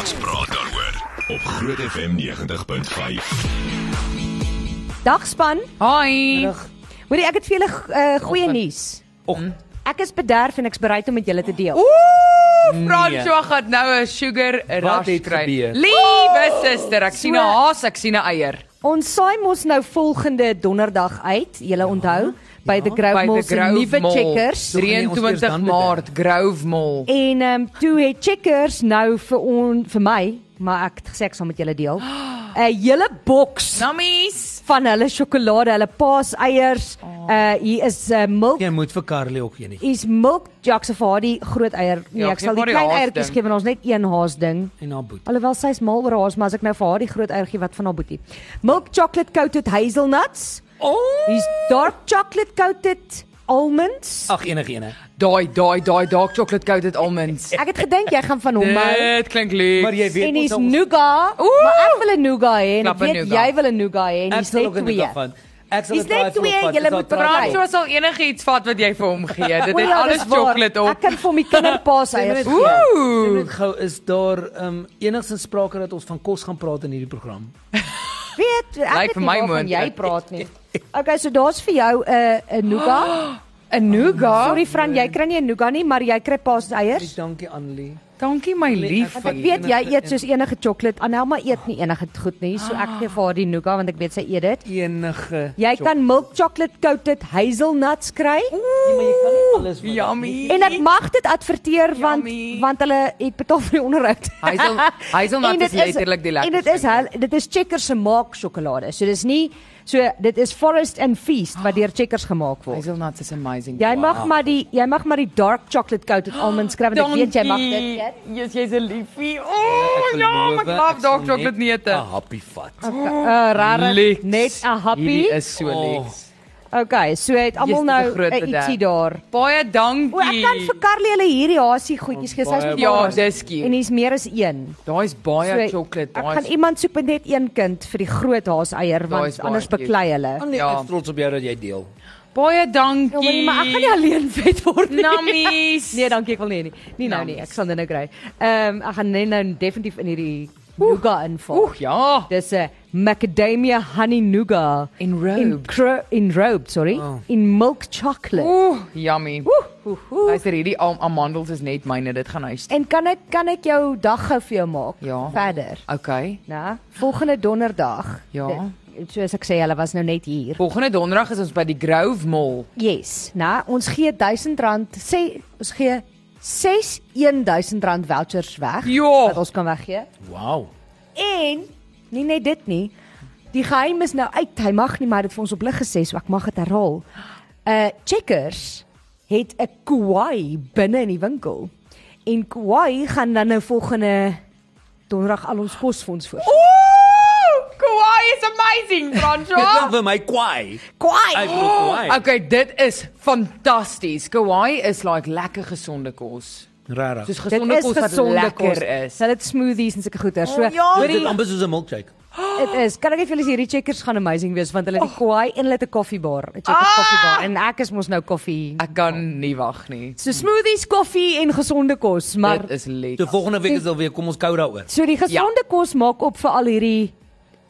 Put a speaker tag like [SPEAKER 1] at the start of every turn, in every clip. [SPEAKER 1] Ons praat daaroor op Groot FM 90.5.
[SPEAKER 2] Dagspan.
[SPEAKER 3] Hi.
[SPEAKER 2] Hoorie, ek het vir julle uh, goeie nuus. Hm?
[SPEAKER 4] Och.
[SPEAKER 2] Ek is bederf en ek's bereid om met julle te deel. Nee.
[SPEAKER 3] Ooh, François gaan nou 'n sugar rush
[SPEAKER 4] het
[SPEAKER 3] kry.
[SPEAKER 4] gebeur?
[SPEAKER 3] Liewe suster, ek sien 'n
[SPEAKER 2] Oh, so-
[SPEAKER 3] haas, ek sien 'n eier.
[SPEAKER 2] Ons saai mos nou volgende donderdag uit, julle onthou, by the Grove
[SPEAKER 3] Ja. By
[SPEAKER 2] Mall
[SPEAKER 3] the
[SPEAKER 2] se
[SPEAKER 3] Grove
[SPEAKER 2] nuwe
[SPEAKER 3] Mall.
[SPEAKER 2] checkers.
[SPEAKER 4] Toe gaan jy ons
[SPEAKER 3] 23
[SPEAKER 4] eers dan bederf.
[SPEAKER 3] Maart, Grove Mall.
[SPEAKER 2] En ehm um, toe het checkers nou vir on vir my, maar ek het gesê ek sal met julle deel. 'n Hele boks
[SPEAKER 3] Nou, Nammies.
[SPEAKER 2] van hulle sjokolade, hulle paaseiers.
[SPEAKER 3] Oh.
[SPEAKER 2] Uh hier is uh, milk
[SPEAKER 3] Ja.
[SPEAKER 4] Jy moet vir Carly ook een hê.
[SPEAKER 2] is milk jacks of haar die groot eier. Nee,
[SPEAKER 3] Ja,
[SPEAKER 2] ek
[SPEAKER 3] geef
[SPEAKER 2] sal die
[SPEAKER 3] maar die
[SPEAKER 2] klein
[SPEAKER 3] haas
[SPEAKER 2] eiertjies
[SPEAKER 3] ding.
[SPEAKER 2] gee want ons net een haas ding.
[SPEAKER 4] en haar boet.
[SPEAKER 2] Alhoewel sy's mal oor haas, maar as ek nou vir haar die groot eiertjie wat van haar boetie. Milk chocolate coated hazelnuts.
[SPEAKER 4] Oh.
[SPEAKER 2] Hier's dark chocolate coated almonds.
[SPEAKER 4] Ag enige ene.
[SPEAKER 3] Daai daai daai dark chocolate coated almonds.
[SPEAKER 2] Ek het gedink jy gaan van hom
[SPEAKER 3] Nee.
[SPEAKER 2] hou.
[SPEAKER 3] Dit klink lekker.
[SPEAKER 4] Maar jy weet
[SPEAKER 2] En hier's
[SPEAKER 4] ons-
[SPEAKER 2] nougat. Maar ek wil 'n nougat hê en ek
[SPEAKER 3] Klap 'n
[SPEAKER 2] weet
[SPEAKER 3] nougat.
[SPEAKER 2] jy wil 'n nougat hê en
[SPEAKER 4] ek
[SPEAKER 2] hier's
[SPEAKER 4] sal ook
[SPEAKER 2] net
[SPEAKER 4] in die
[SPEAKER 2] twee.
[SPEAKER 4] dag van. Ek sal
[SPEAKER 2] Dis
[SPEAKER 4] dit draai
[SPEAKER 2] net
[SPEAKER 4] vir
[SPEAKER 2] twee,
[SPEAKER 4] opvat,
[SPEAKER 2] julle
[SPEAKER 4] dis al
[SPEAKER 2] moet
[SPEAKER 4] draai.
[SPEAKER 2] praai.
[SPEAKER 3] François sal enigiets vat wat jy vir hom gee. Dit
[SPEAKER 2] O
[SPEAKER 3] het
[SPEAKER 2] ja,
[SPEAKER 3] alles
[SPEAKER 2] dis waar. Ek
[SPEAKER 3] chocolate op. Nee,
[SPEAKER 2] kan vir my kinderpaaseiers.
[SPEAKER 4] Sê my net- sê my
[SPEAKER 3] Ooh.
[SPEAKER 4] net Gou is daar um, enigstens sprake dat ons van kos gaan praat in hierdie program.
[SPEAKER 2] Weet, ek
[SPEAKER 3] Lyk
[SPEAKER 2] weet
[SPEAKER 3] vir
[SPEAKER 2] nie
[SPEAKER 3] my
[SPEAKER 2] waarvan
[SPEAKER 3] moontlik.
[SPEAKER 2] jy praat nie. Okay, so daar's vir jou 'n uh, 'n nougat.
[SPEAKER 3] 'n Nougat.
[SPEAKER 2] Sorry Fran, jy kry nie 'n nougat nie, maar jy kry
[SPEAKER 4] Dis
[SPEAKER 2] paaseiers.
[SPEAKER 4] dankie Annelie.
[SPEAKER 3] Dankie my lief.
[SPEAKER 2] Want ek weet jy eet soos enige sjokolade. Anelma eet nie enige goed nie, so
[SPEAKER 3] Ah.
[SPEAKER 2] ek gee vir haar die nougat want ek weet sy eet dit.
[SPEAKER 4] Enige.
[SPEAKER 2] Jy kan milk chocolate coated hazelnuts kry.
[SPEAKER 4] Nee, maar jy kan nie alles wat-
[SPEAKER 3] Yummy.
[SPEAKER 2] En ek mag dit adverteer want
[SPEAKER 3] Yummy.
[SPEAKER 2] want hulle het betaal vir die onderhoud.
[SPEAKER 3] Hazel- hazelnut
[SPEAKER 2] En dit
[SPEAKER 3] is letterlijk die
[SPEAKER 2] En dit is hulle dit is Checkers se maak sjokolade. So dis nie so dit is Forest and Feast wat deur Checkers gemaak word.
[SPEAKER 3] Hazelnuts is amazing.
[SPEAKER 2] Jy mag maar die jy mag maar die dark chocolate coated almonds kry want ek weet jy mag dit eet.
[SPEAKER 3] Yes, jy's 'n liefie. O,
[SPEAKER 4] Ek
[SPEAKER 3] oh, ja,
[SPEAKER 4] beloof,
[SPEAKER 3] ek love
[SPEAKER 4] ek
[SPEAKER 3] dark
[SPEAKER 4] sal
[SPEAKER 3] chocolate
[SPEAKER 4] net
[SPEAKER 3] neute.
[SPEAKER 4] 'n Happy vat.
[SPEAKER 2] Uh, rare
[SPEAKER 3] Leks.
[SPEAKER 2] net 'n happy.
[SPEAKER 3] Hierdie is so
[SPEAKER 4] Oh.
[SPEAKER 3] lekker.
[SPEAKER 2] Okay, so het almal
[SPEAKER 3] Yes, dis 'n
[SPEAKER 2] nou
[SPEAKER 3] groot
[SPEAKER 2] 'n ietsie daar.
[SPEAKER 3] Baie
[SPEAKER 2] O, ek
[SPEAKER 3] dankie.
[SPEAKER 2] kan vir Carly hulle hierdie hasie goedjies gee. Sy's met
[SPEAKER 3] Ja,
[SPEAKER 2] haar.
[SPEAKER 3] dis
[SPEAKER 2] En
[SPEAKER 3] cute.
[SPEAKER 2] hier's meer as een.
[SPEAKER 3] Daai's baie chocolate,
[SPEAKER 2] Ek gaan
[SPEAKER 3] daai's
[SPEAKER 2] iemand soek met net een kind vir die groot haaseier
[SPEAKER 3] Daai
[SPEAKER 2] want
[SPEAKER 3] is baie
[SPEAKER 2] anders
[SPEAKER 3] cute.
[SPEAKER 2] beklei hulle.
[SPEAKER 4] Annelie,
[SPEAKER 3] Ja.
[SPEAKER 4] ek is trots op jou dat jy deel.
[SPEAKER 3] baie
[SPEAKER 2] Ja, maar,
[SPEAKER 3] dankie.
[SPEAKER 2] nie, maar ek gaan nie alleen vet word nie.
[SPEAKER 3] Nammies.
[SPEAKER 2] Nee, dankie, ek wil nie nie. Nee nou nie, ek sal dit nou kry. Ehm ek gaan net nou definitief in hierdie nougat inval.
[SPEAKER 3] Oeg, ja.
[SPEAKER 2] Dis 'n macadamia honey nougat
[SPEAKER 3] En
[SPEAKER 2] in
[SPEAKER 3] robe.
[SPEAKER 2] cro- in robe, sorry,
[SPEAKER 4] Oh.
[SPEAKER 2] in milk chocolate.
[SPEAKER 3] Oeh, yummy.
[SPEAKER 2] Oeh, oeh.
[SPEAKER 3] Luister, hierdie am amandels is net myne, dit gaan huis. toe.
[SPEAKER 2] En kan ek kan ek jou dag gou vir jou maak
[SPEAKER 3] Ja.
[SPEAKER 2] verder,
[SPEAKER 3] Okay.
[SPEAKER 2] né? Volgende donderdag.
[SPEAKER 3] Ja.
[SPEAKER 2] Dit- Soos ek sê, hulle was nou net hier.
[SPEAKER 3] Volgende donderdag is ons by die Grove Mall.
[SPEAKER 2] Yes, né? Ons gee R1000, sê ons gee 6 R1000 vouchers weg
[SPEAKER 3] Ja.
[SPEAKER 2] wat ons kan weggee.
[SPEAKER 4] Wow.
[SPEAKER 2] En nie net dit nie. Die geheim is nou uit. Hy mag nie maar dit vir ons op lig gesê, so ek mag dit herhaal. Uh checkers het 'n kwaai binne in die winkel. En kwaai gaan dan nou volgende donderdag al ons kosfonds voor.
[SPEAKER 3] Ooh, Kauai is amazing,
[SPEAKER 4] Dit klink
[SPEAKER 2] Ja.
[SPEAKER 3] Francois.
[SPEAKER 4] vir my kwaai.
[SPEAKER 3] Oh.
[SPEAKER 4] Hy
[SPEAKER 2] Kwaai.
[SPEAKER 4] proe kwaai.
[SPEAKER 3] Okay, dit is fantasties. Kauai is like lekker gesonde kos.
[SPEAKER 4] Rarig.
[SPEAKER 2] Dit
[SPEAKER 3] Soos gesonde
[SPEAKER 2] is
[SPEAKER 3] kos wat
[SPEAKER 2] gesonde kos.
[SPEAKER 3] lekker is.
[SPEAKER 2] Hulle het smoothies en sulke goeie. So
[SPEAKER 3] O, ja.
[SPEAKER 4] Dit
[SPEAKER 2] hoorie,
[SPEAKER 4] is amper soos 'n milkshake.
[SPEAKER 2] Dit is. Kan ek net vir julle sê hierdie checkers gaan amazing wees want hulle het die kwaai en hulle het 'n koffiebar, 'n checkers
[SPEAKER 3] Oh. Ah!
[SPEAKER 2] koffiebar en ek is mos nou koffie.
[SPEAKER 3] Ek kan nie wag nie.
[SPEAKER 2] So smoothies, koffie en gesonde kos, maar
[SPEAKER 3] Dit is
[SPEAKER 4] So
[SPEAKER 3] lekker.
[SPEAKER 4] volgende week is dit weer kom ons kou daaroor.
[SPEAKER 2] so die gesonde ja. kos maak op vir al hierdie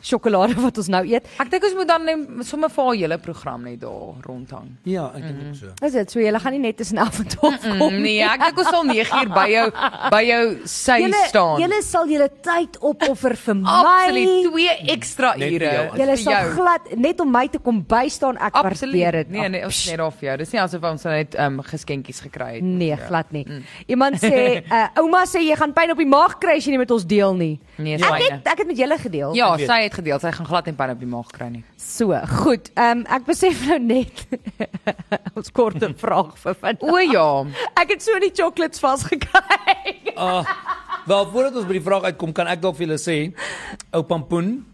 [SPEAKER 2] sjokolade wat ons nou eet.
[SPEAKER 3] Ek dink ons moet dan net sommer vir haar hele program net daar rondhang.
[SPEAKER 4] Ja, ek dink
[SPEAKER 3] Mhm.
[SPEAKER 4] ook so.
[SPEAKER 2] Is dit so julle gaan nie net tussen 11 en 12 kom
[SPEAKER 3] Nee, ek dink ons sal 9 uur by jou by jou sy
[SPEAKER 2] Julle
[SPEAKER 3] staan.
[SPEAKER 2] julle sal julle tyd opoffer vir my.
[SPEAKER 3] Absoluut twee ekstra
[SPEAKER 4] Net vir
[SPEAKER 3] ure.
[SPEAKER 4] jou,
[SPEAKER 3] vir
[SPEAKER 2] Julle sal
[SPEAKER 3] jou.
[SPEAKER 2] glad net om my te kom bystaan. Ek waardeer
[SPEAKER 3] Absoluut.
[SPEAKER 2] dit.
[SPEAKER 3] Nee, nee, ons is net daar vir jou. Dis nie asof ons net ehm um, geskenkies gekry het.
[SPEAKER 2] Nee, glad nie.
[SPEAKER 3] Mm.
[SPEAKER 2] Iemand sê, uh, ouma sê jy gaan pyn op die maag kry as jy nie met ons deel nie.
[SPEAKER 3] Nee,
[SPEAKER 2] Ek
[SPEAKER 3] syne.
[SPEAKER 2] het ek het met julle gedeel.
[SPEAKER 3] Ja,
[SPEAKER 4] Ek weet.
[SPEAKER 3] sy het gedeel. Sy gaan glad nie pyn op die maag kry nie.
[SPEAKER 2] So, goed. Ehm um, ek besef nou net ons kort 'n vraag vir
[SPEAKER 3] O
[SPEAKER 2] vandag.
[SPEAKER 3] ja.
[SPEAKER 2] Ek het so in die chocolates vasgekry.
[SPEAKER 4] Ah, wel voordat ons by die vraag uitkom, kan ek dalk vir julle sê, ou Pampoen,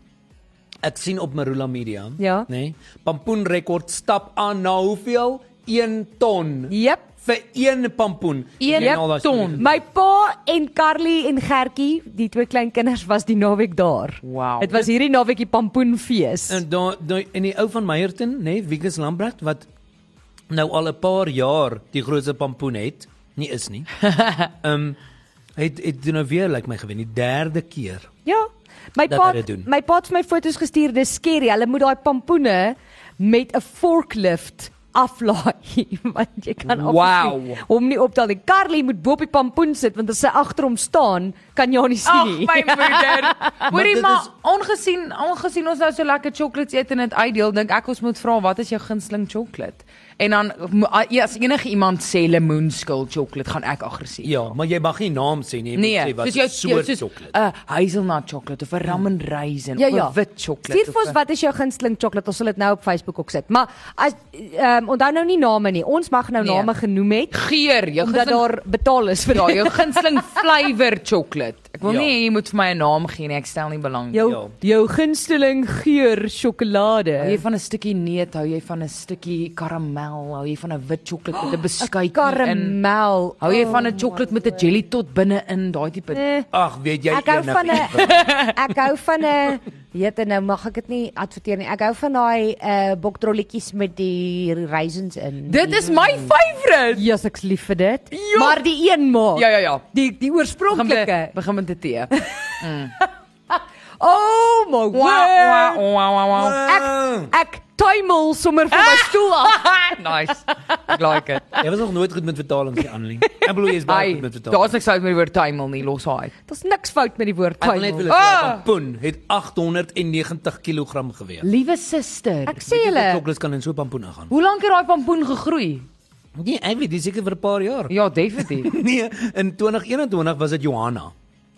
[SPEAKER 4] ek sien op Marula Media,
[SPEAKER 2] Ja.
[SPEAKER 4] nê? Nee, Pampoen rekord stap aan na hoeveel? 1 ton
[SPEAKER 2] Jep.
[SPEAKER 4] vir een pampoen.
[SPEAKER 3] Ja. Een
[SPEAKER 4] Jy ken al daai
[SPEAKER 3] ton.
[SPEAKER 4] stories.
[SPEAKER 2] My pa en Carly en Gertjie, die twee klein kinders was die naweek daar.
[SPEAKER 3] Wow.
[SPEAKER 2] Dit was hierdie naweekie pampoenfees.
[SPEAKER 4] En dan dan en die ou van Meyerton, nê, nee, Wikus Lambrecht wat nou al 'n paar jaar die grootste pampoen het, nie is nie. Ehm um, het het doen nou weer lyk like my gewen die derde keer.
[SPEAKER 2] Ja. My
[SPEAKER 4] Dat
[SPEAKER 2] pa
[SPEAKER 4] hy dit doen.
[SPEAKER 2] my pa het vir my foto's gestuur. Dis skerry. Hulle moet daai pampoene met 'n forklift aflaai want jy kan
[SPEAKER 3] Wow.
[SPEAKER 2] obviously hom nie optel nie. Carly moet bo op die pampoen sit want as sy agter hom staan, kan jy hom nie
[SPEAKER 3] Ag
[SPEAKER 2] sien nie.
[SPEAKER 3] my moeder. Hoorie
[SPEAKER 4] dit
[SPEAKER 3] maar
[SPEAKER 4] is-
[SPEAKER 3] ongesien aangesien ons nou so lekker chocolates eet en dit uitdeel, dink ek ons moet vra wat is jou gunsteling chocolate? En dan mo- a- ja, as enige iemand sê lemoenskil chocolate, gaan ek aggressief.
[SPEAKER 4] Ja, maar jy mag nie naam sê nie. Jy moet
[SPEAKER 3] Nee,
[SPEAKER 4] sê wat
[SPEAKER 3] soos jou
[SPEAKER 4] is
[SPEAKER 3] jou-
[SPEAKER 4] soort
[SPEAKER 3] soos 'n
[SPEAKER 4] sjokolade.
[SPEAKER 3] hazelnut chocolate of 'n rum and raisin
[SPEAKER 2] Ja
[SPEAKER 3] of 'n
[SPEAKER 2] ja.
[SPEAKER 3] wit chocolate.
[SPEAKER 2] Stuur vir
[SPEAKER 3] of
[SPEAKER 2] ons
[SPEAKER 3] 'n-
[SPEAKER 2] wat is jou gunsteling chocolate? Ons sal dit nou op Facebook ook sit. Maar as ehm um, onthou nou nie name nie. Ons mag nou
[SPEAKER 3] Nee.
[SPEAKER 2] name genoem het
[SPEAKER 3] geur, jou
[SPEAKER 2] omdat
[SPEAKER 3] gunsteling
[SPEAKER 2] daar betaal is vir
[SPEAKER 3] ja,
[SPEAKER 2] daai
[SPEAKER 3] jou gunsteling flavour chocolate. Ek wil
[SPEAKER 4] Ja.
[SPEAKER 3] nie hê jy moet vir my 'n naam gee nie, ek stel nie belang.
[SPEAKER 2] jou
[SPEAKER 4] Ja.
[SPEAKER 2] jou gunsteling geur sjokolade.
[SPEAKER 3] Hou jy van 'n stukkie neut, hou jy van 'n stukkie karamel, hou jy van 'n wit sjokolade met 'n beskuit in.
[SPEAKER 2] karamel.
[SPEAKER 3] Hou jy van 'n chocolate met 'n jelly tot binne in, daai tipe?
[SPEAKER 2] Nee.
[SPEAKER 4] Ag, weet jy
[SPEAKER 2] Ek hou
[SPEAKER 4] enig
[SPEAKER 2] van
[SPEAKER 4] iets.
[SPEAKER 2] 'n ek hou van 'n jette nou mag ek dit nie adverteer nie. Ek hou van daai uh boktrolletjies met die raisins in.
[SPEAKER 3] Dit is my favourite.
[SPEAKER 2] Jesus ek's lief vir dit.
[SPEAKER 3] Ja.
[SPEAKER 2] Maar die een maak.
[SPEAKER 3] Ja ja ja.
[SPEAKER 2] Die die
[SPEAKER 3] Begin met
[SPEAKER 2] oorspronklike.
[SPEAKER 3] begin met 'n tee.
[SPEAKER 2] Oh my
[SPEAKER 3] Wow wow
[SPEAKER 2] god.
[SPEAKER 3] wow wow. wow.
[SPEAKER 4] Wow.
[SPEAKER 2] Ek ek tuimel sommer van my stoel af.
[SPEAKER 3] nice. Ek like dit.
[SPEAKER 4] Jy was nog nooit goed met vertaling nie, Annelie. Ek bedoel jy is baie
[SPEAKER 3] Ai,
[SPEAKER 4] goed met vertaling.
[SPEAKER 3] daar's niks uit met die woord tuimel nie, los daai.
[SPEAKER 2] Daar's niks fout met die woord
[SPEAKER 4] Ek wil net
[SPEAKER 2] tuimel.
[SPEAKER 4] wil sê
[SPEAKER 3] Ah!
[SPEAKER 4] pampoen het 890 kg geweg.
[SPEAKER 3] Liewe suster,
[SPEAKER 2] Ek sê julle,
[SPEAKER 4] Chocolates kan in so pampoen ingaan.
[SPEAKER 3] hoe lank het daai pampoen gegroei?
[SPEAKER 4] Nee, ek weet dis seker vir 'n paar jaar.
[SPEAKER 3] Ja, definitief.
[SPEAKER 4] Nee, in 2021 was dit Johanna.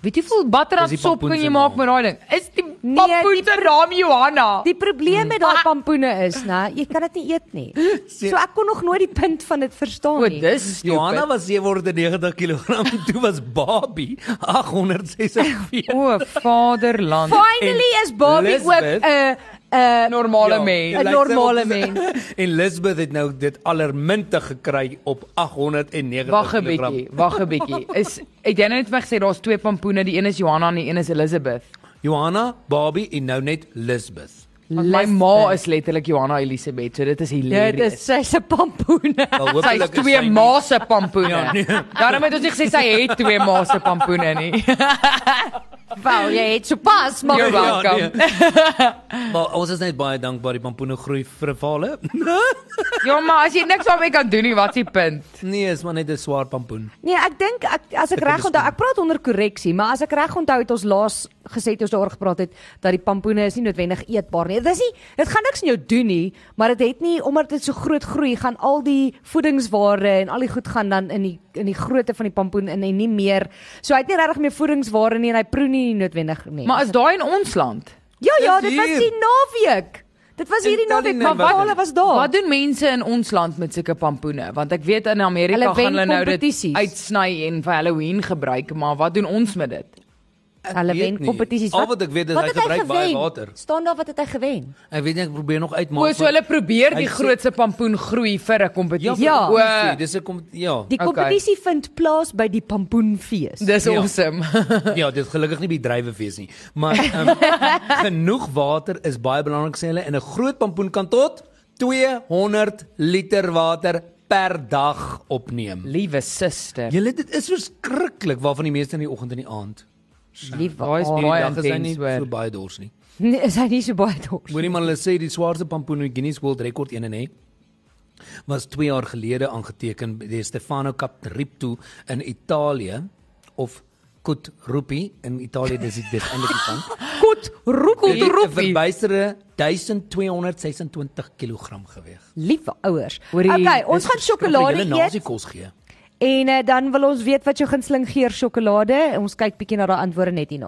[SPEAKER 3] Weet jy hoeveel batter aan
[SPEAKER 4] Dis die
[SPEAKER 3] sop kan jy
[SPEAKER 4] pampoense
[SPEAKER 3] maak
[SPEAKER 4] naam.
[SPEAKER 3] met daai ding? Is die
[SPEAKER 2] Nee,
[SPEAKER 3] pampoen
[SPEAKER 2] die
[SPEAKER 3] se naam Johanna?
[SPEAKER 2] die probleem met daai pampoene is, né, jy kan dit nie eet nie. So ek kon nog nooit die punt van dit verstaan
[SPEAKER 3] O,
[SPEAKER 2] nie.
[SPEAKER 3] dis
[SPEAKER 4] Johanna was 790 kg, toe was Barbie 846.
[SPEAKER 3] O, vaderland.
[SPEAKER 2] Finally is Barbie ook eh,
[SPEAKER 4] Lisbeth-
[SPEAKER 2] 'n 'n
[SPEAKER 3] Normale
[SPEAKER 4] Ja,
[SPEAKER 3] mens.
[SPEAKER 4] jy lyk
[SPEAKER 2] normale
[SPEAKER 4] sy op- En Lisbeth het nou dit allerminte gekry op 890 kg.
[SPEAKER 3] Wag 'n bietjie, wag 'n bietjie. Is het jy nou net vir my gesê daar's twee pampoene, die een is Johanna en die een is Elizabeth.
[SPEAKER 4] Johanna, Barbie en nou net Lisbeth.
[SPEAKER 3] Want My
[SPEAKER 2] Lisbeth.
[SPEAKER 3] ma is letterlik Johanna Elisabeth, so dit
[SPEAKER 4] Ja,
[SPEAKER 3] is
[SPEAKER 2] Dit
[SPEAKER 3] hilarious.
[SPEAKER 2] is sy's 'n pampoen.
[SPEAKER 4] Wel,
[SPEAKER 3] Sy
[SPEAKER 4] hopelik
[SPEAKER 3] het
[SPEAKER 4] is
[SPEAKER 3] twee
[SPEAKER 4] nie-
[SPEAKER 3] ma se pampoene.
[SPEAKER 4] Ja, nee.
[SPEAKER 3] Daarom het ons nie gesê sy het twee ma se pampoene nie.
[SPEAKER 2] Wel, jy het sopas maar
[SPEAKER 3] You're
[SPEAKER 2] wel.
[SPEAKER 3] welcome.
[SPEAKER 4] nee. Ja, Maar ons is net baie dankbaar die pampoene groei vir vale.
[SPEAKER 3] Ja, maar as jy niks daarmee kan doen nie, wat is die punt?
[SPEAKER 4] Nee, is maar net 'n swaar pampoen.
[SPEAKER 2] Nee, ek dink ek as ek reg onthou, ek praat onder korreksie, maar as ek reg onthou het ons laas gesê het ons daaroor gepraat het dat die pampoene is nie noodwendig eetbaar nie. Dit is nie dit gaan niks in jou doen nie, maar dit het nie omdat dit so groot groei gaan al die voedingsware en al die goed gaan dan in die in die grootte van die pampoen in en nie meer. So hy het nie regtig meer voedingsware nie en hy proe nie noodwendig nie.
[SPEAKER 3] Maar is daai in ons land?
[SPEAKER 2] Ja ja,
[SPEAKER 4] Dis
[SPEAKER 2] dit was
[SPEAKER 4] hier.
[SPEAKER 2] die naweek. Dit was hierdie
[SPEAKER 4] Tel die
[SPEAKER 2] naweek,
[SPEAKER 4] nou
[SPEAKER 2] maar
[SPEAKER 4] wat
[SPEAKER 2] baie hulle
[SPEAKER 4] dit-
[SPEAKER 2] was daar.
[SPEAKER 3] Wat doen mense in ons land met sulke pampoene? Want ek weet in Amerika
[SPEAKER 2] Hulle wen
[SPEAKER 3] gaan hulle nou dit
[SPEAKER 2] kompetisies.
[SPEAKER 3] uitsny en vir Halloween gebruik, maar wat doen ons met dit?
[SPEAKER 4] Ek
[SPEAKER 2] Hulle
[SPEAKER 4] weet
[SPEAKER 2] wen
[SPEAKER 4] nie.
[SPEAKER 2] kompetisies.
[SPEAKER 4] Al wat ek weet is hy
[SPEAKER 2] het
[SPEAKER 4] gebruik baie
[SPEAKER 2] gewen?
[SPEAKER 4] water.
[SPEAKER 2] Staan daar wat het hy gewen?
[SPEAKER 4] Ek weet nie ek probeer nog uitmaak.
[SPEAKER 3] O, so hulle probeer die
[SPEAKER 4] Hy sê-
[SPEAKER 3] grootste pampoen groei vir 'n
[SPEAKER 4] Ja,
[SPEAKER 3] kompetisie.
[SPEAKER 2] Ja.
[SPEAKER 4] ja.
[SPEAKER 3] O,
[SPEAKER 4] dis 'n kom ja.
[SPEAKER 2] Die
[SPEAKER 3] Okay.
[SPEAKER 2] kompetisie vind plaas by die Pampoenfees.
[SPEAKER 3] dis
[SPEAKER 4] Ja.
[SPEAKER 3] awesome.
[SPEAKER 4] Ja, dit is gelukkig nie by drywefees nie. Maar um, genoeg water is baie belangrik sê hulle en 'n groot pampoen kan tot 200 liter water per dag opneem.
[SPEAKER 3] Liewe suster.
[SPEAKER 4] Julle dit is verskriklik waarvan die meeste in die oggend en die aand.
[SPEAKER 2] Lief
[SPEAKER 3] Daai is
[SPEAKER 2] aard.
[SPEAKER 3] baie
[SPEAKER 4] dag is hy nie
[SPEAKER 3] intens
[SPEAKER 4] so
[SPEAKER 3] hoor.
[SPEAKER 4] baie dors nie.
[SPEAKER 2] Nee, is hy nie so baie dors.
[SPEAKER 4] Hoorie maar hulle sê die swaarste pampoen in Guinness World Record een en hè was 2 jaar gelede aangeteken by die Stefano Capripto in Italië of Kutrupi in Italië dis dit eintlik die pand.
[SPEAKER 2] Goed, roek
[SPEAKER 4] Dit
[SPEAKER 2] goed
[SPEAKER 4] het 'n
[SPEAKER 2] roep.
[SPEAKER 4] verbysere 1226 kg geweg.
[SPEAKER 2] Lief ouers.
[SPEAKER 3] Hoorie,
[SPEAKER 2] Okay, ons gaan sjokolade
[SPEAKER 4] nasie
[SPEAKER 2] eet
[SPEAKER 4] kos gee.
[SPEAKER 2] en uh, dan wil ons weet wat jou gunsteling geur sjokolade. Ons kyk bietjie na daai antwoorde net hierna.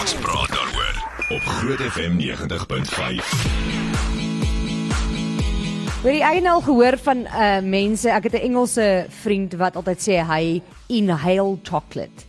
[SPEAKER 1] Ons praat daaroor op Groot FM 90.5.
[SPEAKER 2] Hoorie, ek het nou al gehoor van uh mense, ek het 'n Engelse vriend wat altyd sê hy inhale chocolate.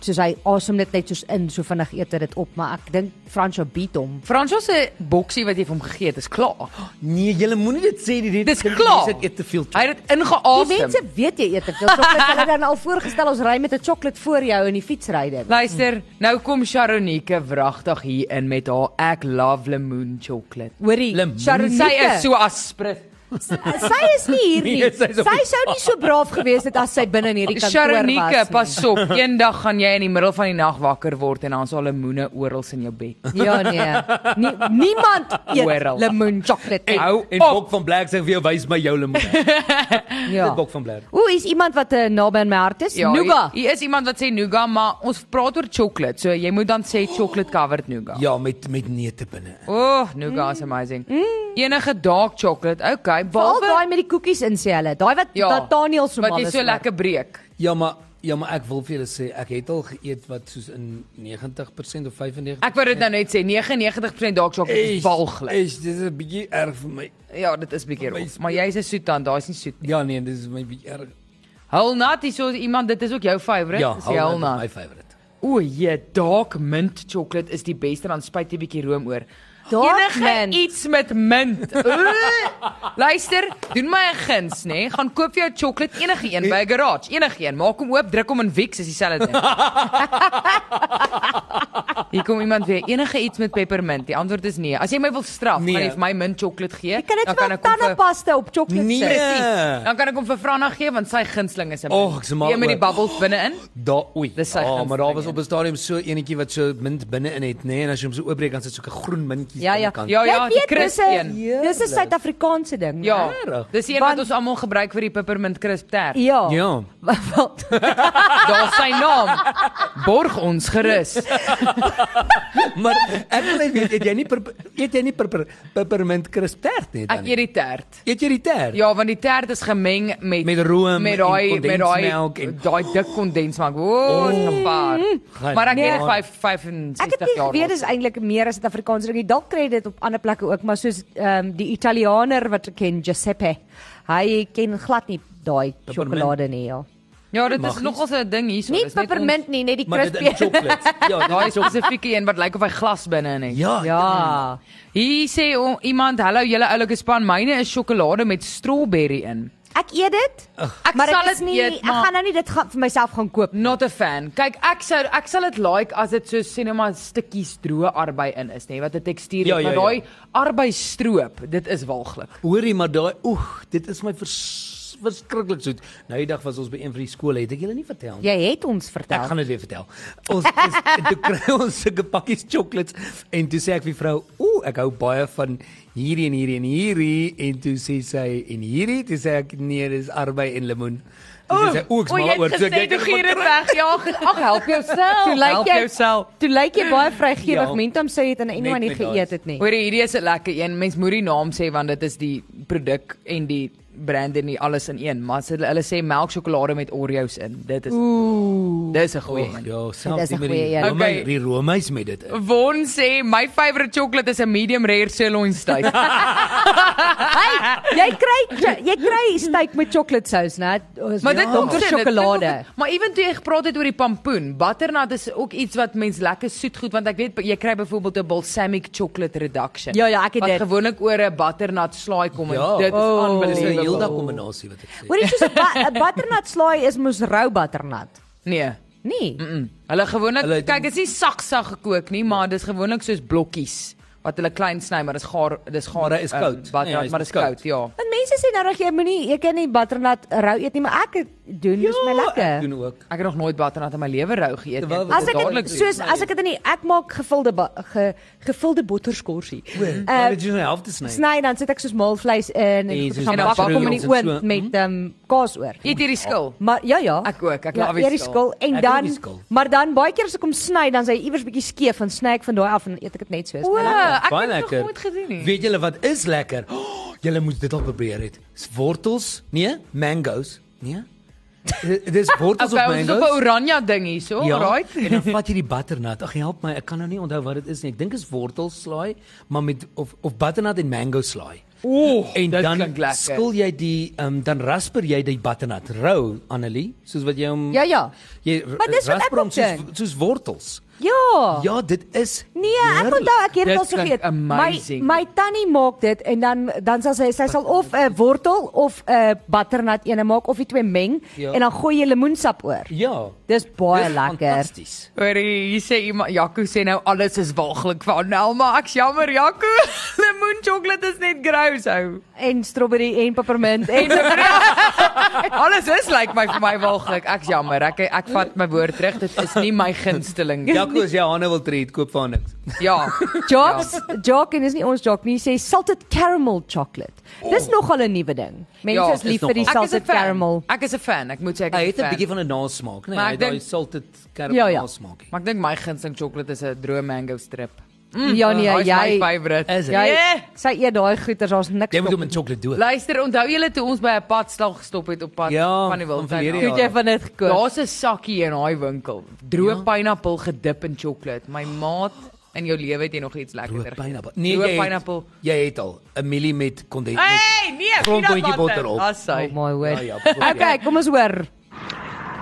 [SPEAKER 2] Soos hy asem dit net soos in, so vinnig eet hy dit op, maar ek dink Fransjo beat hom.
[SPEAKER 3] Fransos se boksie wat jy vir hom gegee het, is klaar.
[SPEAKER 4] Nee, jy moenie dit sê nie.
[SPEAKER 3] Dis klaar.
[SPEAKER 4] Dit eet te veel.
[SPEAKER 3] Hy het dit
[SPEAKER 2] Die
[SPEAKER 3] ingeasem.
[SPEAKER 2] mense weet jy eet te veel sjokolade. Hulle het dan al voorgestel ons ry met 'n sjokolade voor jou in die fietsry dit.
[SPEAKER 3] Luister, nou kom Sharonike wragtig hier in met haar ek love lemoen chocolate.
[SPEAKER 2] Hoorie,
[SPEAKER 4] Lemoen.
[SPEAKER 2] Sharonike.
[SPEAKER 3] Sy is so aspres.
[SPEAKER 2] S- Sy is nie hier nie.
[SPEAKER 4] Nee, sy is op
[SPEAKER 2] Sy
[SPEAKER 4] die
[SPEAKER 2] sou nie so braaf gewees het as sy binne in hierdie kantoor
[SPEAKER 3] Sharonike,
[SPEAKER 2] was.
[SPEAKER 3] pas op. Eendag gaan jy in die middel van die nag wakker word en dan is al lemoene oral in jou bed.
[SPEAKER 2] Ja nee. Nie, niemand eet
[SPEAKER 3] Oral.
[SPEAKER 2] lemon chocolate nie.
[SPEAKER 4] Hou en
[SPEAKER 3] op.
[SPEAKER 4] Bok van Blerk sê vir jou wys my jou lemoene.
[SPEAKER 2] Ja.
[SPEAKER 4] Bok van Blerk.
[SPEAKER 2] O, is iemand wat uh, naby aan my hart is? Ja, Nougat.
[SPEAKER 3] Hier, hier is iemand wat sê nougat, maar ons praat oor chocolate, so jy moet dan sê chocolate covered nougat.
[SPEAKER 4] Ja, met met neute binne.
[SPEAKER 3] O, oh, nougat is
[SPEAKER 2] Mm.
[SPEAKER 3] amazing. Enige dark chocolate. Okay,
[SPEAKER 2] Al
[SPEAKER 3] behalwe
[SPEAKER 2] daai met die koekies in sê hulle. Daai wat ja, Nathaniel so
[SPEAKER 3] wat
[SPEAKER 2] mal
[SPEAKER 3] jy
[SPEAKER 2] is.
[SPEAKER 3] so
[SPEAKER 2] oor.
[SPEAKER 3] lekker breek.
[SPEAKER 4] Ja, maar ja, maar ek wil vir julle sê ek het al geëet wat soos in 90% of 95
[SPEAKER 3] Ek wou dit nou net sê, 99% dark chocolate is walglik.
[SPEAKER 4] Is dit is 'n bietjie erg vir my.
[SPEAKER 3] Ja, dit is bietjie rof, maar jy's 'n soet dan, daai's nie soet nie.
[SPEAKER 4] Ja nee, dit is my bietjie erg.
[SPEAKER 3] Hulnat, hier so iemand, dit is ook jou favourite.
[SPEAKER 4] Ja,
[SPEAKER 3] is die
[SPEAKER 4] hou
[SPEAKER 3] Hulnat.
[SPEAKER 4] net my favourite.
[SPEAKER 3] O, jy, dark mint chocolate is die beste, dan spyt jy bietjie room oor.
[SPEAKER 2] Dark
[SPEAKER 3] Enige
[SPEAKER 2] mint.
[SPEAKER 3] iets met mint. Oeh. Luister, doen my 'n guns, nê? Nee? Gaan koop vir jou chocolate enige een by 'n garage, enige een. Maak hom oop, druk hom in Wix, is dieselfde ding. Hier kom iemand weer, enige iets met peppermint. Die antwoord is nee. As jy my wil straf,
[SPEAKER 4] Nee.
[SPEAKER 3] gaan jy vir my mint chocolate gee.
[SPEAKER 2] Jy kan
[SPEAKER 3] dan
[SPEAKER 2] net
[SPEAKER 3] kan
[SPEAKER 2] wel
[SPEAKER 3] ek hom vir
[SPEAKER 2] tandepasta op chocolate
[SPEAKER 4] Nee.
[SPEAKER 2] sit.
[SPEAKER 4] Ja.
[SPEAKER 3] Presies. Dan kan ek hom vir Franna gee want sy gunsteling is 'n
[SPEAKER 4] Och,
[SPEAKER 3] mint.
[SPEAKER 4] ek smaak
[SPEAKER 3] Een met die
[SPEAKER 4] ook.
[SPEAKER 3] bubbles binne-in.
[SPEAKER 4] Daar oei.
[SPEAKER 3] Dis sy
[SPEAKER 4] Ja,
[SPEAKER 3] gunsteling
[SPEAKER 4] maar daar was
[SPEAKER 3] een.
[SPEAKER 4] op 'n stadium so enetjie wat so mint binne in het, nê, nee, en as jy hom so oopbreek dan sit so 'n groen mintjies
[SPEAKER 2] Ja
[SPEAKER 4] aan die
[SPEAKER 2] ja.
[SPEAKER 4] kant.
[SPEAKER 3] Ja,
[SPEAKER 2] Jy
[SPEAKER 3] ja,
[SPEAKER 2] weet,
[SPEAKER 3] die
[SPEAKER 2] dis 'n-
[SPEAKER 3] crisp
[SPEAKER 2] Dis 'n Suid-Afrikaanse ding. né?
[SPEAKER 3] Ja,
[SPEAKER 4] Regtig?
[SPEAKER 3] dis die een
[SPEAKER 2] Want-
[SPEAKER 3] wat ons almal gebruik vir die peppermint crisp ter.
[SPEAKER 2] Ja.
[SPEAKER 4] Ja.
[SPEAKER 2] Wat?
[SPEAKER 3] Daar is sy naam. Borg ons gerus.
[SPEAKER 4] maar ek wil net weet, eet jy nie per, eet jy nie per, per, peppermint crisp tert nie dan?
[SPEAKER 3] Ek
[SPEAKER 4] nie?
[SPEAKER 3] eet die tert.
[SPEAKER 4] eet jy die tert?
[SPEAKER 3] Ja, want die tert is gemeng met
[SPEAKER 4] Met room
[SPEAKER 3] met
[SPEAKER 4] en
[SPEAKER 3] daai met
[SPEAKER 4] kondensmelk
[SPEAKER 3] daai
[SPEAKER 4] en-
[SPEAKER 3] daai dik kondensmelk. O, oh, is gevaar.
[SPEAKER 4] Gaan-
[SPEAKER 3] Maar ek
[SPEAKER 4] Nee.
[SPEAKER 3] het
[SPEAKER 2] Ek
[SPEAKER 3] 5
[SPEAKER 2] het
[SPEAKER 3] 65
[SPEAKER 2] nie
[SPEAKER 3] jaar.
[SPEAKER 2] geweet
[SPEAKER 3] oud.
[SPEAKER 2] dis eintlik meer as 'n Afrikaanse ding. nie. Dalk kry jy dit op ander plekke ook, maar soos ehm um, die Italianer wat ek ken, Giuseppe. Hy ken glad nie daai
[SPEAKER 4] Peppermint.
[SPEAKER 2] sjokolade nie, ja.
[SPEAKER 3] Ja, dit
[SPEAKER 4] Mag
[SPEAKER 3] is
[SPEAKER 4] nie.
[SPEAKER 3] nogal so 'n ding hierso.
[SPEAKER 2] Nie
[SPEAKER 3] dis net
[SPEAKER 2] peppermint nie, net die
[SPEAKER 4] maar dit in
[SPEAKER 2] crispy.
[SPEAKER 4] chocolate. Ja,
[SPEAKER 3] ons- Daai
[SPEAKER 4] daai
[SPEAKER 3] spesifieke een wat lyk of hy glas binne in het.
[SPEAKER 4] Ja.
[SPEAKER 3] Ah.
[SPEAKER 2] Ja.
[SPEAKER 3] Hier sê o, iemand, "Hallo julle oulike span, myne is sjokolade met strawberry in."
[SPEAKER 2] Ek eet dit.
[SPEAKER 3] Ek
[SPEAKER 2] maar
[SPEAKER 3] sal
[SPEAKER 2] ek is
[SPEAKER 3] dit
[SPEAKER 2] nie,
[SPEAKER 3] eet,
[SPEAKER 2] Ek
[SPEAKER 3] maar-
[SPEAKER 2] gaan nou nie dit gaan vir myself gaan koop nie.
[SPEAKER 3] Not a fan. Kyk, ek sou ek sal dit like as dit so sê net maar stukkies droë arbei in is, nê, wat 'n tekstuur het,
[SPEAKER 4] Ja,
[SPEAKER 3] ja,
[SPEAKER 4] ja,
[SPEAKER 3] ja, maar
[SPEAKER 4] ja.
[SPEAKER 3] daai arbei stroop, dit is walglik.
[SPEAKER 4] Hoorie, maar daai oeg, dit is my vers, verskriklik soet. Nou die dag was ons by een van die skole, het ek julle nie vertel nie.
[SPEAKER 2] Jy het ons vertel.
[SPEAKER 4] Ek gaan dit weer vertel. Ons is toe kry ons sulke pakkies chocolates en toe sê ek vir die vrou, "Ooh, ek hou baie van hierdie en hierdie en hierdie." En toe sê sy, "En hierdie?" Toe sê ek, "Nee, dis arbei en lemoen." Toe sê sy, "Ooh, ek smaak oor."
[SPEAKER 2] Nee,
[SPEAKER 3] Toe jy gee dit weg. Ja, ge- ag help jouself.
[SPEAKER 2] Toe lyk
[SPEAKER 3] Help
[SPEAKER 2] jy
[SPEAKER 3] jouself.
[SPEAKER 2] Toe lyk jy baie vrygewig.
[SPEAKER 4] Ja.
[SPEAKER 2] Mentum sê jy het aan iemand nie
[SPEAKER 4] met daai.
[SPEAKER 2] geëet het nie.
[SPEAKER 3] Hoor jy, hierdie is 'n lekker een. Mens moet die naam sê want dit is die produk en die brand en die alles in een. Maar as hulle hulle sê melk sjokolade met Oreos in. Dit is Ooh. Dis 'n goeie
[SPEAKER 4] Oeg,
[SPEAKER 3] een.
[SPEAKER 4] ja,
[SPEAKER 2] Dit
[SPEAKER 4] selfs
[SPEAKER 2] is 'n
[SPEAKER 4] die met
[SPEAKER 2] goeie
[SPEAKER 4] die
[SPEAKER 2] een.
[SPEAKER 4] roomys,
[SPEAKER 3] Okay.
[SPEAKER 4] die roomys met dit. in.
[SPEAKER 3] Won sê my favourite chocolate is 'n medium rare sirloin steak.
[SPEAKER 2] Jy kry jy kry steak met chocolate sous, né? Ons-
[SPEAKER 3] Maar dit
[SPEAKER 2] Ja. donker
[SPEAKER 3] dit klink
[SPEAKER 2] sjokolade.
[SPEAKER 3] of dit- Maar ewen toe jy gepraat het oor die pampoen, butternut is ook iets wat mens lekker soet goed want ek weet jy kry byvoorbeeld 'n balsamic chocolate reduction.
[SPEAKER 2] Ja, ja, ek het
[SPEAKER 3] wat
[SPEAKER 2] dit.
[SPEAKER 3] gewoonlik oor 'n butternut slaai kom en
[SPEAKER 4] Ja.
[SPEAKER 3] dit is
[SPEAKER 2] Oh.
[SPEAKER 4] Dis 'n
[SPEAKER 3] unbelievable.
[SPEAKER 4] heeldag kombinasie wat ek sê.
[SPEAKER 2] Hoor jy soos 'n ba- 'n butternut slaai is mos rou butternut.
[SPEAKER 3] Nee.
[SPEAKER 2] Nee.
[SPEAKER 3] Mm. Hulle
[SPEAKER 4] Hulle-
[SPEAKER 3] gewoonlik kyk, dit is nie sagsag gekook nie, maar dis gewoonlik soos blokkies wat hulle klein sny, maar dis gaar dis gaar
[SPEAKER 4] Maar hy is
[SPEAKER 3] ehm,
[SPEAKER 4] koud.
[SPEAKER 3] butternut,
[SPEAKER 4] Nee, hy is
[SPEAKER 3] maar dis
[SPEAKER 4] koud.
[SPEAKER 3] koud, ja.
[SPEAKER 2] Want mense sê nou dat jy moenie jy kan nie butternut rou eet nie, maar ek het- doen dis my
[SPEAKER 4] Ja, Ek
[SPEAKER 2] lekker.
[SPEAKER 4] doen ook.
[SPEAKER 3] Ek het nog nooit butternut in my lewe rou geëet nie.
[SPEAKER 4] Wel,
[SPEAKER 3] Ek wil
[SPEAKER 2] As ek
[SPEAKER 3] dit dadelik
[SPEAKER 2] het,
[SPEAKER 3] doen.
[SPEAKER 2] soos as ek dit nie ek maak gevulde ba- ge, gevulde botterskorsie.
[SPEAKER 4] Maar
[SPEAKER 2] Eh,
[SPEAKER 4] dit is nou half te sny.
[SPEAKER 2] Sny dan sit ek soos maalvleis in en
[SPEAKER 4] En soos
[SPEAKER 2] gaan bak hom in die
[SPEAKER 4] mushrooms en so. Mhm.
[SPEAKER 2] oond met ehm um, kaas oor.
[SPEAKER 3] eet hierdie skil.
[SPEAKER 2] Maar ja ja.
[SPEAKER 3] Ek ook, ek
[SPEAKER 2] ja,
[SPEAKER 3] love die
[SPEAKER 2] eet die skil
[SPEAKER 3] skil.
[SPEAKER 2] en
[SPEAKER 4] Ek love
[SPEAKER 2] dan
[SPEAKER 4] die skil.
[SPEAKER 2] maar dan baie keer as ek hom sny dan is hy iewers bietjie skeef en sny ek van daai af en eet ek dit net soos.
[SPEAKER 3] O, ek
[SPEAKER 4] Baie
[SPEAKER 3] het dit nog nooit gedoen nie.
[SPEAKER 4] Weet julle wat is lekker? Oh, julle moet dit al probeer het. Dis wortels? Nee, mangoes. Nee. Dit dis wortels
[SPEAKER 3] Okay,
[SPEAKER 4] of
[SPEAKER 3] ons is op 'n
[SPEAKER 4] mangoes.
[SPEAKER 3] oranje ding hierso, ja. right?
[SPEAKER 4] en dan vat jy die butternut. Ag help my, ek kan nou nie onthou wat dit is nie. Ek dink is wortelslaai, maar met of of butternut en mango slaai.
[SPEAKER 3] Ooh,
[SPEAKER 4] En
[SPEAKER 3] dit
[SPEAKER 4] dan
[SPEAKER 3] klink lekker.
[SPEAKER 4] skil jy die ehm um, dan rasper jy die butternut rou, Annelie, soos wat jy hom
[SPEAKER 2] Ja, ja.
[SPEAKER 4] Jy
[SPEAKER 2] Maar dis wat ek
[SPEAKER 4] rasper hom
[SPEAKER 2] ook
[SPEAKER 4] soos
[SPEAKER 2] dink.
[SPEAKER 4] soos wortels.
[SPEAKER 2] Ja.
[SPEAKER 4] Ja, dit is
[SPEAKER 2] Nee, ek
[SPEAKER 4] heerlik.
[SPEAKER 2] onthou ek het dit
[SPEAKER 3] Dit
[SPEAKER 2] al so
[SPEAKER 3] klink
[SPEAKER 2] geëet. My
[SPEAKER 3] amazing.
[SPEAKER 2] my tannie maak dit en dan dan sal sy sy sal of 'n wortel of 'n butternut ene maak of die twee meng
[SPEAKER 4] Ja.
[SPEAKER 2] en dan gooi jy lemoensap oor.
[SPEAKER 4] Ja.
[SPEAKER 2] Dis baie
[SPEAKER 4] Dis
[SPEAKER 2] lekker.
[SPEAKER 4] Fantasties.
[SPEAKER 3] Hoor jy, hier sê iemand Jaco sê nou alles is walglik van Nelma. Ek's jammer Jaco. Lemoen chocolate is net gross ou.
[SPEAKER 2] en strawberry en peppermint en
[SPEAKER 3] Alles is lyk like my vir my walglik. Ek's jammer. Ek ek vat my woord terug. Dit is nie my gunsteling. Ja.
[SPEAKER 4] Jaco as jy Hanne wil treat, koop vir haar niks.
[SPEAKER 3] ja.
[SPEAKER 2] Jocks, Jock en is nie ons Jock nie, sê salted caramel chocolate. Dis nogal 'n nuwe ding. Mense
[SPEAKER 3] Oh. Ja,
[SPEAKER 2] is lief
[SPEAKER 4] is
[SPEAKER 2] vir die
[SPEAKER 4] nogal.
[SPEAKER 3] Ek is 'n
[SPEAKER 2] salted
[SPEAKER 3] fan.
[SPEAKER 2] caramel.
[SPEAKER 3] Ek is 'n fan. Ek moet sê ek
[SPEAKER 4] Hy
[SPEAKER 3] is
[SPEAKER 4] het
[SPEAKER 3] 'n
[SPEAKER 4] 'n bietjie
[SPEAKER 3] fan.
[SPEAKER 4] van 'n nasmaak, nee.
[SPEAKER 3] Maar
[SPEAKER 4] Hy
[SPEAKER 3] ek
[SPEAKER 4] het daai
[SPEAKER 3] dink-
[SPEAKER 4] salted
[SPEAKER 2] Ja,
[SPEAKER 4] caramel
[SPEAKER 2] ja.
[SPEAKER 4] nasmaak.
[SPEAKER 3] Maar ek dink my gunsteling chocolate is 'n droë mango strip.
[SPEAKER 2] Ja nee,
[SPEAKER 3] Daai is
[SPEAKER 2] jy
[SPEAKER 3] Mm. my favorite. Ja. Nee.
[SPEAKER 4] Is dit?
[SPEAKER 2] jy
[SPEAKER 3] Yeah.
[SPEAKER 2] sy eet daai goeters, daar's niks.
[SPEAKER 4] Jy moet
[SPEAKER 2] op
[SPEAKER 4] hom in chocolate dood.
[SPEAKER 3] Luister, onthou julle toe ons by 'n padstal gestop het op pad
[SPEAKER 4] Ja,
[SPEAKER 3] van die
[SPEAKER 4] van
[SPEAKER 3] Wildtuin?
[SPEAKER 4] verlede
[SPEAKER 3] af?
[SPEAKER 4] jaar.
[SPEAKER 2] Goed jy van dit gekoop.
[SPEAKER 3] Daar's 'n sakkie in daai winkel. Droë
[SPEAKER 4] Ja.
[SPEAKER 3] pineappel gedip in sjokolade. My maat, in jou lewe het jy nog iets lekkerder.
[SPEAKER 4] Rooi
[SPEAKER 3] geëet.
[SPEAKER 4] pineappel. Nee,
[SPEAKER 3] Droë
[SPEAKER 4] jy
[SPEAKER 3] pineappel.
[SPEAKER 4] het, jy het al 'n mielie met kondens.
[SPEAKER 3] Hey, nee,
[SPEAKER 4] grondboontjie botter op.
[SPEAKER 3] Dis hy.
[SPEAKER 2] Oh my
[SPEAKER 4] Ja,
[SPEAKER 2] word.
[SPEAKER 4] ja.
[SPEAKER 2] Okay, kom ons hoor.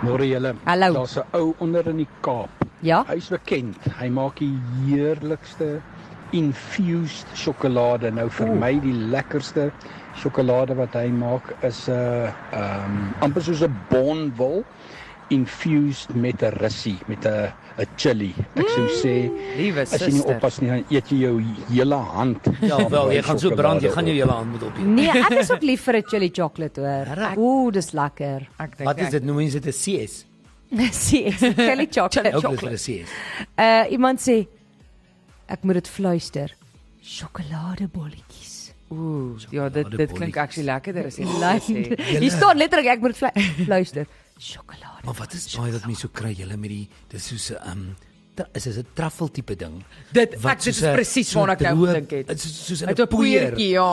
[SPEAKER 5] Môre julle.
[SPEAKER 2] Hallo.
[SPEAKER 5] Daar's 'n ou onder in die Kaap.
[SPEAKER 2] Ja.
[SPEAKER 5] Hy's bekend. Hy maak die heerlikste infused sjokolade. Nou vir Oeh. my die lekkerste sjokolade wat hy maak is 'n uh, ehm um, amper soos 'n bonwol infused met 'n russie, met 'n 'n chili. Ek sou
[SPEAKER 2] Mm.
[SPEAKER 5] sê
[SPEAKER 3] Liewe
[SPEAKER 5] as jy nie
[SPEAKER 3] suster.
[SPEAKER 5] oppas nie, dan eet jy jou hele hand.
[SPEAKER 4] Ja,
[SPEAKER 5] van
[SPEAKER 4] wel,
[SPEAKER 5] daai
[SPEAKER 4] jy gaan so brand, jy
[SPEAKER 5] sjokolade
[SPEAKER 4] gaan jou
[SPEAKER 5] op.
[SPEAKER 4] hele hand moet opneem.
[SPEAKER 2] Nee, ek is ook lief vir 'n chili chocolate hoor.
[SPEAKER 4] Regtig?
[SPEAKER 2] Ooh, dis lekker.
[SPEAKER 3] Ek dink
[SPEAKER 4] Wat is
[SPEAKER 3] ek-
[SPEAKER 4] dit? Noem mense dit 'n CS?
[SPEAKER 2] Sien, chili chocolate.
[SPEAKER 4] Ook dis 'n CS.
[SPEAKER 2] Uh iemand sê ek moet dit fluister. Sjokoladebolletjies.
[SPEAKER 3] Ooh, ja, dit dit klink actually lekkerder as jy
[SPEAKER 2] Lyn.
[SPEAKER 3] Ja, sê.
[SPEAKER 2] Hier staan letterlik ek moet flu- fluister. Sjokolade.
[SPEAKER 4] Maar wat is daai wat mense so kry julle met die dis soos 'n um, is dit 'n truffel tipe ding?
[SPEAKER 3] Dit
[SPEAKER 4] Wat
[SPEAKER 3] ek dit
[SPEAKER 4] soos
[SPEAKER 3] is
[SPEAKER 4] 'n-
[SPEAKER 3] presies
[SPEAKER 4] so'n
[SPEAKER 3] waarna ek nou
[SPEAKER 4] droë-
[SPEAKER 3] gedink het.
[SPEAKER 4] Dit is soos 'n
[SPEAKER 3] Uit 'n poeiertjie, ja.